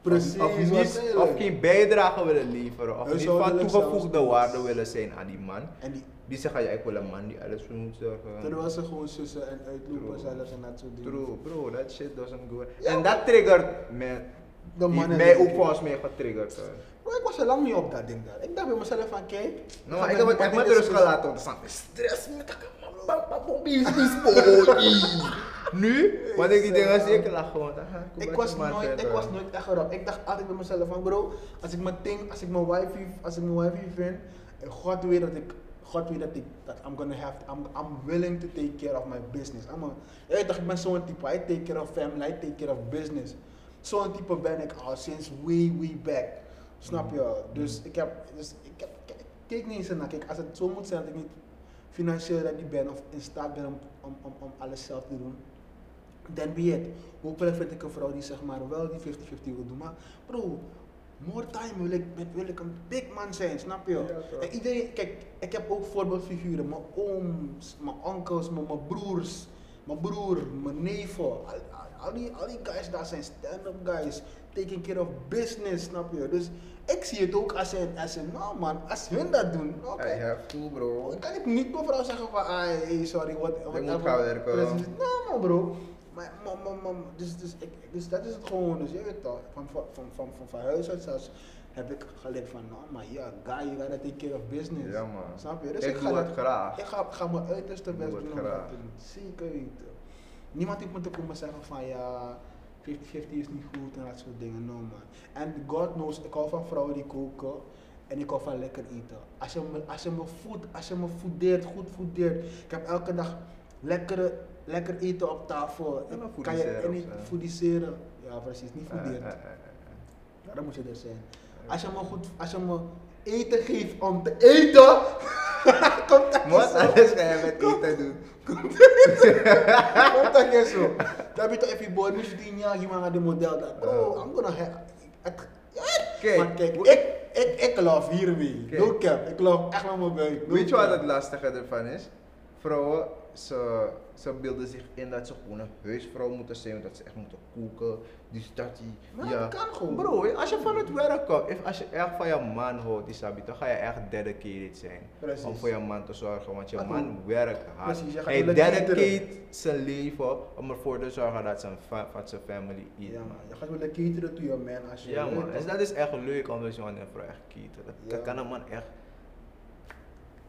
[SPEAKER 2] Precies,
[SPEAKER 1] Mm. Of, of, niet,
[SPEAKER 2] waarschijnlijk.
[SPEAKER 1] of geen bijdrage willen leveren, of niet van
[SPEAKER 2] Huishoudelijk
[SPEAKER 1] toegevoegde
[SPEAKER 2] zelfs.
[SPEAKER 1] waarde willen zijn aan die man.
[SPEAKER 2] En die,
[SPEAKER 1] Die zeggen, ja, ik wil een man die alles voor me moet zorgen.
[SPEAKER 2] terwijl ze gewoon sussen en uitlopen
[SPEAKER 1] True.
[SPEAKER 2] zelfs en dat soort dingen.
[SPEAKER 1] True, bro, that shit doesn't go.
[SPEAKER 2] Ja.
[SPEAKER 1] En dat triggert me.
[SPEAKER 2] De
[SPEAKER 1] heeft
[SPEAKER 2] mannen
[SPEAKER 1] mij
[SPEAKER 2] denk
[SPEAKER 1] ook
[SPEAKER 2] ik.
[SPEAKER 1] volgens mij getriggerd. hoor.
[SPEAKER 2] Maar ik was er lang niet op dat ding daar. Ik dacht bij mezelf van kijk.
[SPEAKER 1] Nou, maar
[SPEAKER 2] ga
[SPEAKER 1] ik
[SPEAKER 2] met
[SPEAKER 1] heb het echt met
[SPEAKER 2] iemand in
[SPEAKER 1] rust
[SPEAKER 2] discussie.
[SPEAKER 1] gelaten, want er staat stress met Nu, want ik die dingen zie, ik lach gewoon. aha,
[SPEAKER 2] Ik
[SPEAKER 1] wat
[SPEAKER 2] was,
[SPEAKER 1] je maar
[SPEAKER 2] nooit, ik
[SPEAKER 1] verder.
[SPEAKER 2] was nooit echt erop. Ik dacht altijd bij mezelf van bro, als ik mijn ding, als ik mijn wifi, als ik mijn wifi vind, eh, God weet dat ik, God weet dat ik, dat I'm gonna have, I'm, I'm willing to take care of my business. I'm a, Ja, ik dacht ik ben zo'n type, I take care of family, I take care of business. Zo'n type ben ik al sinds way, way back. Snap je? Dus ik heb, dus ik heb, ik- ik kijk niet eens naar, kijk, als het zo moet zijn dat ik niet financieel ready ben of in staat ben om, om, om, om alles zelf te doen dan be it. Hopelijk vind ik een vrouw die zeg maar wel die 50-50 wil doen. Maar bro, more time wil ik, met- wil ik een big man zijn, snap je?
[SPEAKER 1] toch.
[SPEAKER 2] en iedereen, kijk, ik heb ook voorbeeldfiguren. Mijn ooms, mijn onkels, mijn, mijn broers, mijn broer, mijn neven. Al, al, al die, al die guys daar zijn stand-up guys. Taking care of business, snap je? Dus ik zie het ook als een, als een nou man, als hun dat doen. Oké.
[SPEAKER 1] I have to, bro.
[SPEAKER 2] Ik kan ik niet mevrouw zeggen van, ah, hey, sorry, wat, wat
[SPEAKER 1] moet gaan werken.
[SPEAKER 2] Precies. Nou, man, bro. Maar, maar, maar, maar, dus, dus, ik, dus dat is het gewoon. Dus je weet toch, van, van, van, van, van, van huis uit zelfs heb ik geleerd van, nou, maar ja, guy, you gotta take care of business.
[SPEAKER 1] Ja, man.
[SPEAKER 2] Snap je? Dus
[SPEAKER 1] Ik
[SPEAKER 2] ik, ga
[SPEAKER 1] doe het
[SPEAKER 2] dat-
[SPEAKER 1] graag.
[SPEAKER 2] Ik ga, ga mijn uiterste
[SPEAKER 1] Ik
[SPEAKER 2] best
[SPEAKER 1] doe
[SPEAKER 2] doen
[SPEAKER 1] het
[SPEAKER 2] om dat
[SPEAKER 1] graag.
[SPEAKER 2] te doen. Zeker weten. Niemand heeft me te komen zeggen van, ja, 50-50 is niet goed en dat soort dingen. No, man. En God knows, ik hou van vrouwen die koken. En ik hou van lekker eten. Als je me, als je me voedt, als je me voedeert, goed voedeert. Ik heb elke dag lekkere, lekker eten op tafel.
[SPEAKER 1] Ja, maar
[SPEAKER 2] Ik kan je
[SPEAKER 1] voediseren
[SPEAKER 2] en
[SPEAKER 1] of
[SPEAKER 2] niet
[SPEAKER 1] zo.
[SPEAKER 2] voediseren. Ja, precies. Niet
[SPEAKER 1] Eh, eh,
[SPEAKER 2] voederen.
[SPEAKER 1] eh, eh.
[SPEAKER 2] Ja, dat moet je er zijn. Als je me, goed, als je me eten geeft om te eten, komt dat
[SPEAKER 1] Wat
[SPEAKER 2] zo.
[SPEAKER 1] anders ga je met eten doen?
[SPEAKER 2] Komt dat niet zo. Dan heb je toch even boy, moest je tien jaar iemand aan de model dat. Oh, I'm gonna have. het-
[SPEAKER 1] Kijk,
[SPEAKER 2] maar kijk,
[SPEAKER 1] hoe-
[SPEAKER 2] ik, ik, ik geloof hiermee.
[SPEAKER 1] Kijk.
[SPEAKER 2] No cap, ik geloof echt met mijn buik. No
[SPEAKER 1] Weet je wat
[SPEAKER 2] cap.
[SPEAKER 1] het lastige ervan is? Vrouwen, ze, ze beelden zich in dat ze gewoon een huisvrouw moeten zijn, dat ze echt moeten koken, dus dat die...
[SPEAKER 2] Maar dat kan gewoon.
[SPEAKER 1] Bro, als je van het werk komt, if- als je echt van je man houdt, Isabi, dan ga je echt dedicated zijn.
[SPEAKER 2] Precies.
[SPEAKER 1] Om voor je man te zorgen, want je
[SPEAKER 2] Dat
[SPEAKER 1] man
[SPEAKER 2] doen.
[SPEAKER 1] werkt hard.
[SPEAKER 2] Precies, je gaat
[SPEAKER 1] Hij
[SPEAKER 2] willen
[SPEAKER 1] dedicate
[SPEAKER 2] cateren.
[SPEAKER 1] zijn leven om ervoor te zorgen dat zijn, fa- dat zijn family eet,
[SPEAKER 2] Ja,
[SPEAKER 1] man.
[SPEAKER 2] man. Je gaat willen cateren to your man als je
[SPEAKER 1] Ja
[SPEAKER 2] weet
[SPEAKER 1] man,
[SPEAKER 2] toch.
[SPEAKER 1] dus dat is echt leuk om dus man en vrouw echt kieten. Dat, dat
[SPEAKER 2] Ja.
[SPEAKER 1] kan een man echt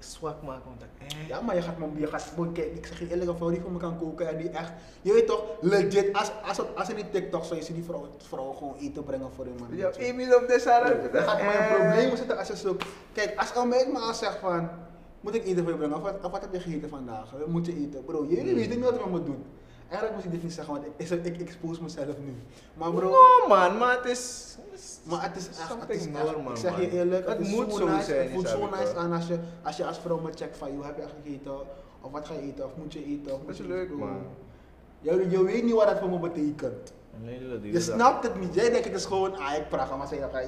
[SPEAKER 1] zwak maken. Want dat, eh.
[SPEAKER 2] Ja, maar je gaat, man, je gaat, boy, kijk, ik zeg je eerlijk, een vrouw die voor me kan koken en die echt, je weet toch, legit, als, als, als in die TikTok zou je zien die vrouw, vrouwen gewoon eten brengen voor hun man.
[SPEAKER 1] Ja, Emil op de Sarah.
[SPEAKER 2] Dan gaat maar een
[SPEAKER 1] Eh.
[SPEAKER 2] probleem zitten als je zo, kijk, als een meid me al zegt van, moet ik eten voor je brengen, of, wat- of wat heb je gegeten vandaag, Eh, moet je eten, bro,
[SPEAKER 1] Hmm.
[SPEAKER 2] jullie weten niet wat we moeten doen. Eigenlijk moet ik dit niet zeggen, want ik, ik, ik expose mezelf nu. Maar bro,
[SPEAKER 1] No man, maar het is.
[SPEAKER 2] maar het is echt, het is
[SPEAKER 1] something
[SPEAKER 2] echt,
[SPEAKER 1] normal,
[SPEAKER 2] ik zeg
[SPEAKER 1] man.
[SPEAKER 2] je eerlijk, het,
[SPEAKER 1] Het
[SPEAKER 2] is
[SPEAKER 1] moet
[SPEAKER 2] zo
[SPEAKER 1] zo
[SPEAKER 2] nice,
[SPEAKER 1] zijn,
[SPEAKER 2] het voelt
[SPEAKER 1] is
[SPEAKER 2] zo
[SPEAKER 1] eigenlijk
[SPEAKER 2] nice
[SPEAKER 1] wel.
[SPEAKER 2] aan als je, als je als vrouw me checkt van, joh, heb je echt gegeten, of wat ga je eten, of moet je eten, of moet
[SPEAKER 1] Dat is
[SPEAKER 2] je
[SPEAKER 1] leuk
[SPEAKER 2] iets doen.
[SPEAKER 1] man.
[SPEAKER 2] Je, je weet niet wat dat voor me betekent.
[SPEAKER 1] Nee, dat doe
[SPEAKER 2] Je snapt het niet. Jij denkt het is gewoon, ah ik praat, maar zeg je, dat-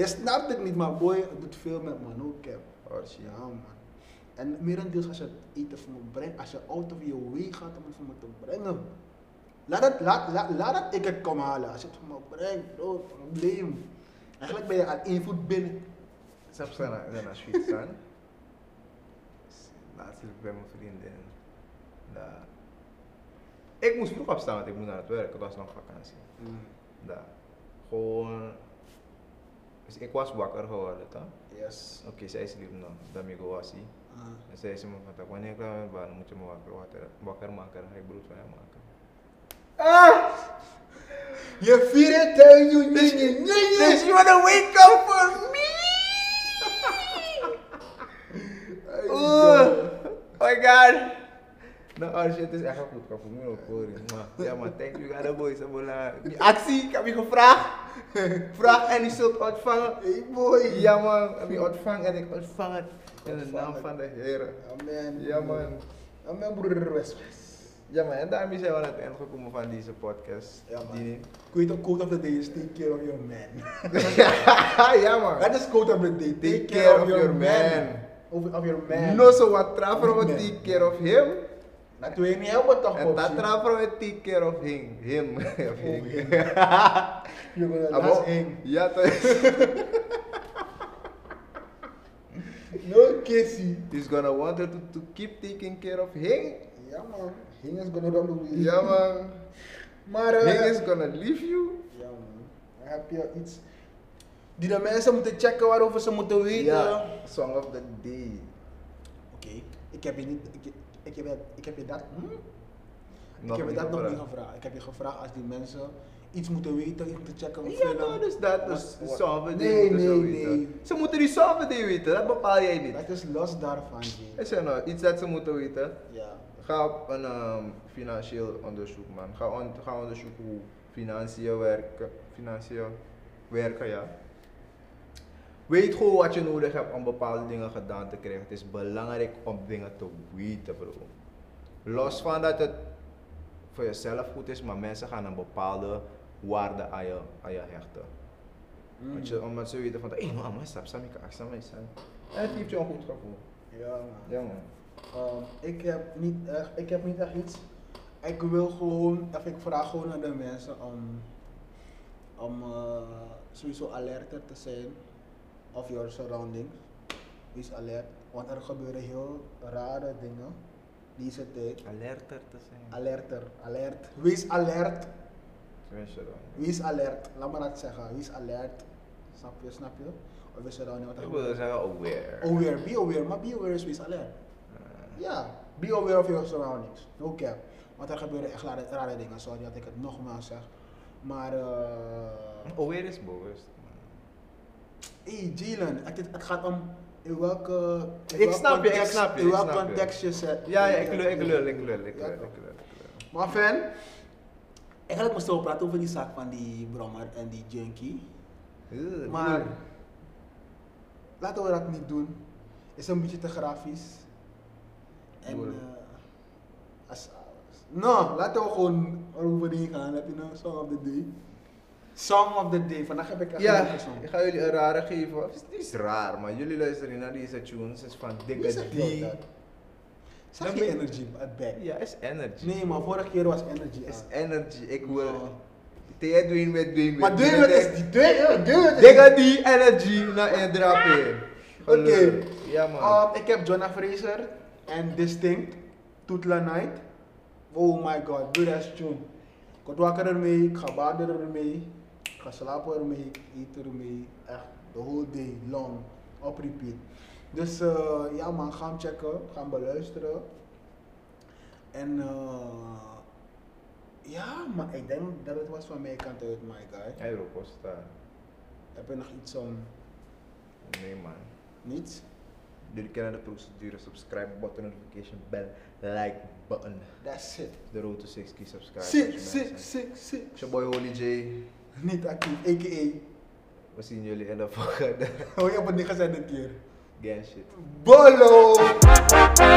[SPEAKER 2] je snapt het niet, maar boy, het doet veel met man, ook cap.
[SPEAKER 1] Oh, shit.
[SPEAKER 2] Ja man. En merendeels als je het eten voor me brengt, als je auto van je way gaat om het voor me te brengen. Laat het, laat, laat, laat het ik het kom halen. Als je het voor me brengt, bro, probleem. Eigenlijk ben je aan één voet binnen.
[SPEAKER 1] Snap ze naar- naar naar Sweet Sun? Laatst liep ik bij mijn vriendin. Daar. Ik moest vroeg opstaan, want ik moest naar het werk. Het was nog vakantie. Daar. Gewoon. Dus ik was wakker geworden, toch?
[SPEAKER 2] Yes.
[SPEAKER 1] Oké, zij sliep nog. Damigo was hij.
[SPEAKER 2] Ah.
[SPEAKER 1] En zij zei me van, "Tak, wanneer ik klaar ben, dan moet je me wakker, wakker, wakker maken. Dan ga ik brood van je maken.
[SPEAKER 2] Je vieren tegen je, nee, nee,
[SPEAKER 1] Dus
[SPEAKER 2] nee,
[SPEAKER 1] you wanna wake up for me? Iya.
[SPEAKER 2] nee.
[SPEAKER 1] Oeh, oh my god. Nou, oh shit, het is echt wel goed. Ik kan voor mij ook horen. Maar, Ja, maar ya, thank you, God, boys. Abola. Die actie, ik heb je gevraagd. Vraag en je zult ontvangen.
[SPEAKER 2] Hey boy.
[SPEAKER 1] Ja, man. Heb je ontvangen en ik ontvang het. In de naam van de Heer.
[SPEAKER 2] Amen.
[SPEAKER 1] Ja, man.
[SPEAKER 2] Amen, broeder Westwest.
[SPEAKER 1] Ja, man. En daarmee zijn we aan het eind gekomen van deze podcast.
[SPEAKER 2] Ja, man.
[SPEAKER 1] Die-
[SPEAKER 2] Quote of quote of the day is take care of your man.
[SPEAKER 1] ja, man.
[SPEAKER 2] That is quote of the day. Take, care, of, your, man. Of, of your man.
[SPEAKER 1] No, so wat trafro we
[SPEAKER 2] Man.
[SPEAKER 1] take care of him.
[SPEAKER 2] Dat wil je niet helpen toch,
[SPEAKER 1] En dat
[SPEAKER 2] popsie?
[SPEAKER 1] trafro we take care of him. Him. Of him.
[SPEAKER 2] him. Jongen, Oh, dat
[SPEAKER 1] Abo-
[SPEAKER 2] is eng.
[SPEAKER 1] Ja, toch?
[SPEAKER 2] No kissy.
[SPEAKER 1] He's gonna want her to, to keep taking care of him.
[SPEAKER 2] Ja man, Hing is gonna run away.
[SPEAKER 1] Ja, man.
[SPEAKER 2] Maar eh,
[SPEAKER 1] Him is gonna leave you.
[SPEAKER 2] Ja man, Dan heb je iets die de mensen moeten checken waarover ze moeten weten?
[SPEAKER 1] Ja. Song of the day.
[SPEAKER 2] Oké, ik heb je niet, ik, ik, heb, je- ik heb je dat, hm?
[SPEAKER 1] Nog
[SPEAKER 2] ik heb je
[SPEAKER 1] niet
[SPEAKER 2] dat nog
[SPEAKER 1] gevraagd.
[SPEAKER 2] niet gevraagd. Ik heb je gevraagd als die mensen iets moeten weten, iets moeten checken. of
[SPEAKER 1] Ja,
[SPEAKER 2] vullen.
[SPEAKER 1] toch? Dus dat is
[SPEAKER 2] Wat- wat-
[SPEAKER 1] Song of the
[SPEAKER 2] Nee,
[SPEAKER 1] day. moeten
[SPEAKER 2] nee,
[SPEAKER 1] ze
[SPEAKER 2] nee.
[SPEAKER 1] weten. Ze moeten die Song of the day weten, dat bepaal jij niet.
[SPEAKER 2] Dat is los daarvan, Jay.
[SPEAKER 1] Is er nou iets dat ze moeten weten?
[SPEAKER 2] Ja.
[SPEAKER 1] Ga op een ehm, financieel onderzoek, man. Ga, on, ga onderzoeken hoe financiën werken. Financiën werken, ja. Weet gewoon wat je nodig hebt om bepaalde dingen gedaan te krijgen. Het is belangrijk om dingen te weten, bro. Los van dat het voor jezelf goed is, maar mensen gaan een bepaalde waarde aan je, aan je hechten.
[SPEAKER 2] Hmm.
[SPEAKER 1] Want je, omdat ze weten van, hé, hey, man, maar stap, stap, ik kan stap, stap. En het geeft je een goed gevoel.
[SPEAKER 2] Ja, man.
[SPEAKER 1] Ja, man.
[SPEAKER 2] Ehm, ik, heb niet echt, ik heb niet echt iets. Ik wil gewoon, of ik vraag gewoon aan de mensen om, om eh, sowieso alerter te zijn of your surroundings. Wees alert, want er gebeuren heel rare dingen deze tijd.
[SPEAKER 1] Alerter te zijn.
[SPEAKER 2] Alerter, alert. Wees alert,
[SPEAKER 1] Tenminste dan.
[SPEAKER 2] wees alert. Laat me dat zeggen, wees alert. Snap je, snap je? Of je surrounding, wat er
[SPEAKER 1] Ik
[SPEAKER 2] gebeurt.
[SPEAKER 1] wil zeggen "Oh, aware.
[SPEAKER 2] Aware, be aware, maar be aware is wees alert. Ja, be aware of your surroundings. No cap. Want er gebeuren echt rare, rare dingen. Sorry dat ik het nogmaals zeg. Maar, eh.
[SPEAKER 1] Aware is bewust. man.
[SPEAKER 2] hey, Jalen, het, het gaat om in welke. in
[SPEAKER 1] Ik
[SPEAKER 2] welk
[SPEAKER 1] snap je, ik
[SPEAKER 2] context-
[SPEAKER 1] snap je,
[SPEAKER 2] In
[SPEAKER 1] ik
[SPEAKER 2] welk
[SPEAKER 1] snap je.
[SPEAKER 2] context je zet.
[SPEAKER 1] Ja, ja, ik lul, ik lul, ik lul, ik
[SPEAKER 2] Ja,
[SPEAKER 1] lul, ik
[SPEAKER 2] toch.
[SPEAKER 1] lul, ik lul.
[SPEAKER 2] Maar fan, eigenlijk moesten we praten over die zaak van die Brommer en die Junkie.
[SPEAKER 1] Eeuw,
[SPEAKER 2] Maar
[SPEAKER 1] broer.
[SPEAKER 2] laten we dat niet doen. Is een beetje te grafisch. En
[SPEAKER 1] Mooi.
[SPEAKER 2] eh, als, nou, laten we gewoon eroverheen gaan. Heb je een song of the day? Song of the day. Vandaag heb ik echt een
[SPEAKER 1] Ja,
[SPEAKER 2] leuke song.
[SPEAKER 1] ik ga jullie een rare geven. Het is niet eens raar, maar jullie luisteren naar deze tunes. Het is van
[SPEAKER 2] Wie
[SPEAKER 1] dikke
[SPEAKER 2] zegt jou
[SPEAKER 1] die.
[SPEAKER 2] dat? Zag
[SPEAKER 1] Dan
[SPEAKER 2] je
[SPEAKER 1] ben-
[SPEAKER 2] energy at back? Ah.
[SPEAKER 1] Ja, is energy.
[SPEAKER 2] Nee, maar vorige keer was energy.
[SPEAKER 1] Is
[SPEAKER 2] aan.
[SPEAKER 1] energy. Ik wil.
[SPEAKER 2] Ja.
[SPEAKER 1] Thea doen met doen met.
[SPEAKER 2] Maar doe je wat is die? Doe je doe je wat is die?
[SPEAKER 1] Dikke die energy naar en drapen.
[SPEAKER 2] Oké.
[SPEAKER 1] Ja man.
[SPEAKER 2] Um, ik heb Jonah Fraser en Distinct, Toetla Night. Oh my god, doe dat tune. Ik word wakker ermee, ik ga baden ermee, ik ga slapen ermee, ik eet ermee. Echt, the whole day long, op repeat. Dus eh, ja man, ga hem checken, ga hem beluisteren. En eh, ja, maar ik denk dat het was van mijn kant uit, my guy.
[SPEAKER 1] Hij roept ons daar.
[SPEAKER 2] Heb je nog iets om
[SPEAKER 1] Nee man.
[SPEAKER 2] niets?
[SPEAKER 1] Jullie kennen de procedure. Subscribe button, notification bell, like button.
[SPEAKER 2] That's it.
[SPEAKER 1] De road to 6 key subscribe.
[SPEAKER 2] Sick,
[SPEAKER 1] als je mensen-
[SPEAKER 2] sick, sick, sick.
[SPEAKER 1] It's your boy Holy J.
[SPEAKER 2] Niet actief, a.k.a.
[SPEAKER 1] We zien jullie in de volgende
[SPEAKER 2] Hoe je op het neergezet dit keer.
[SPEAKER 1] gang shit.
[SPEAKER 2] Bolo!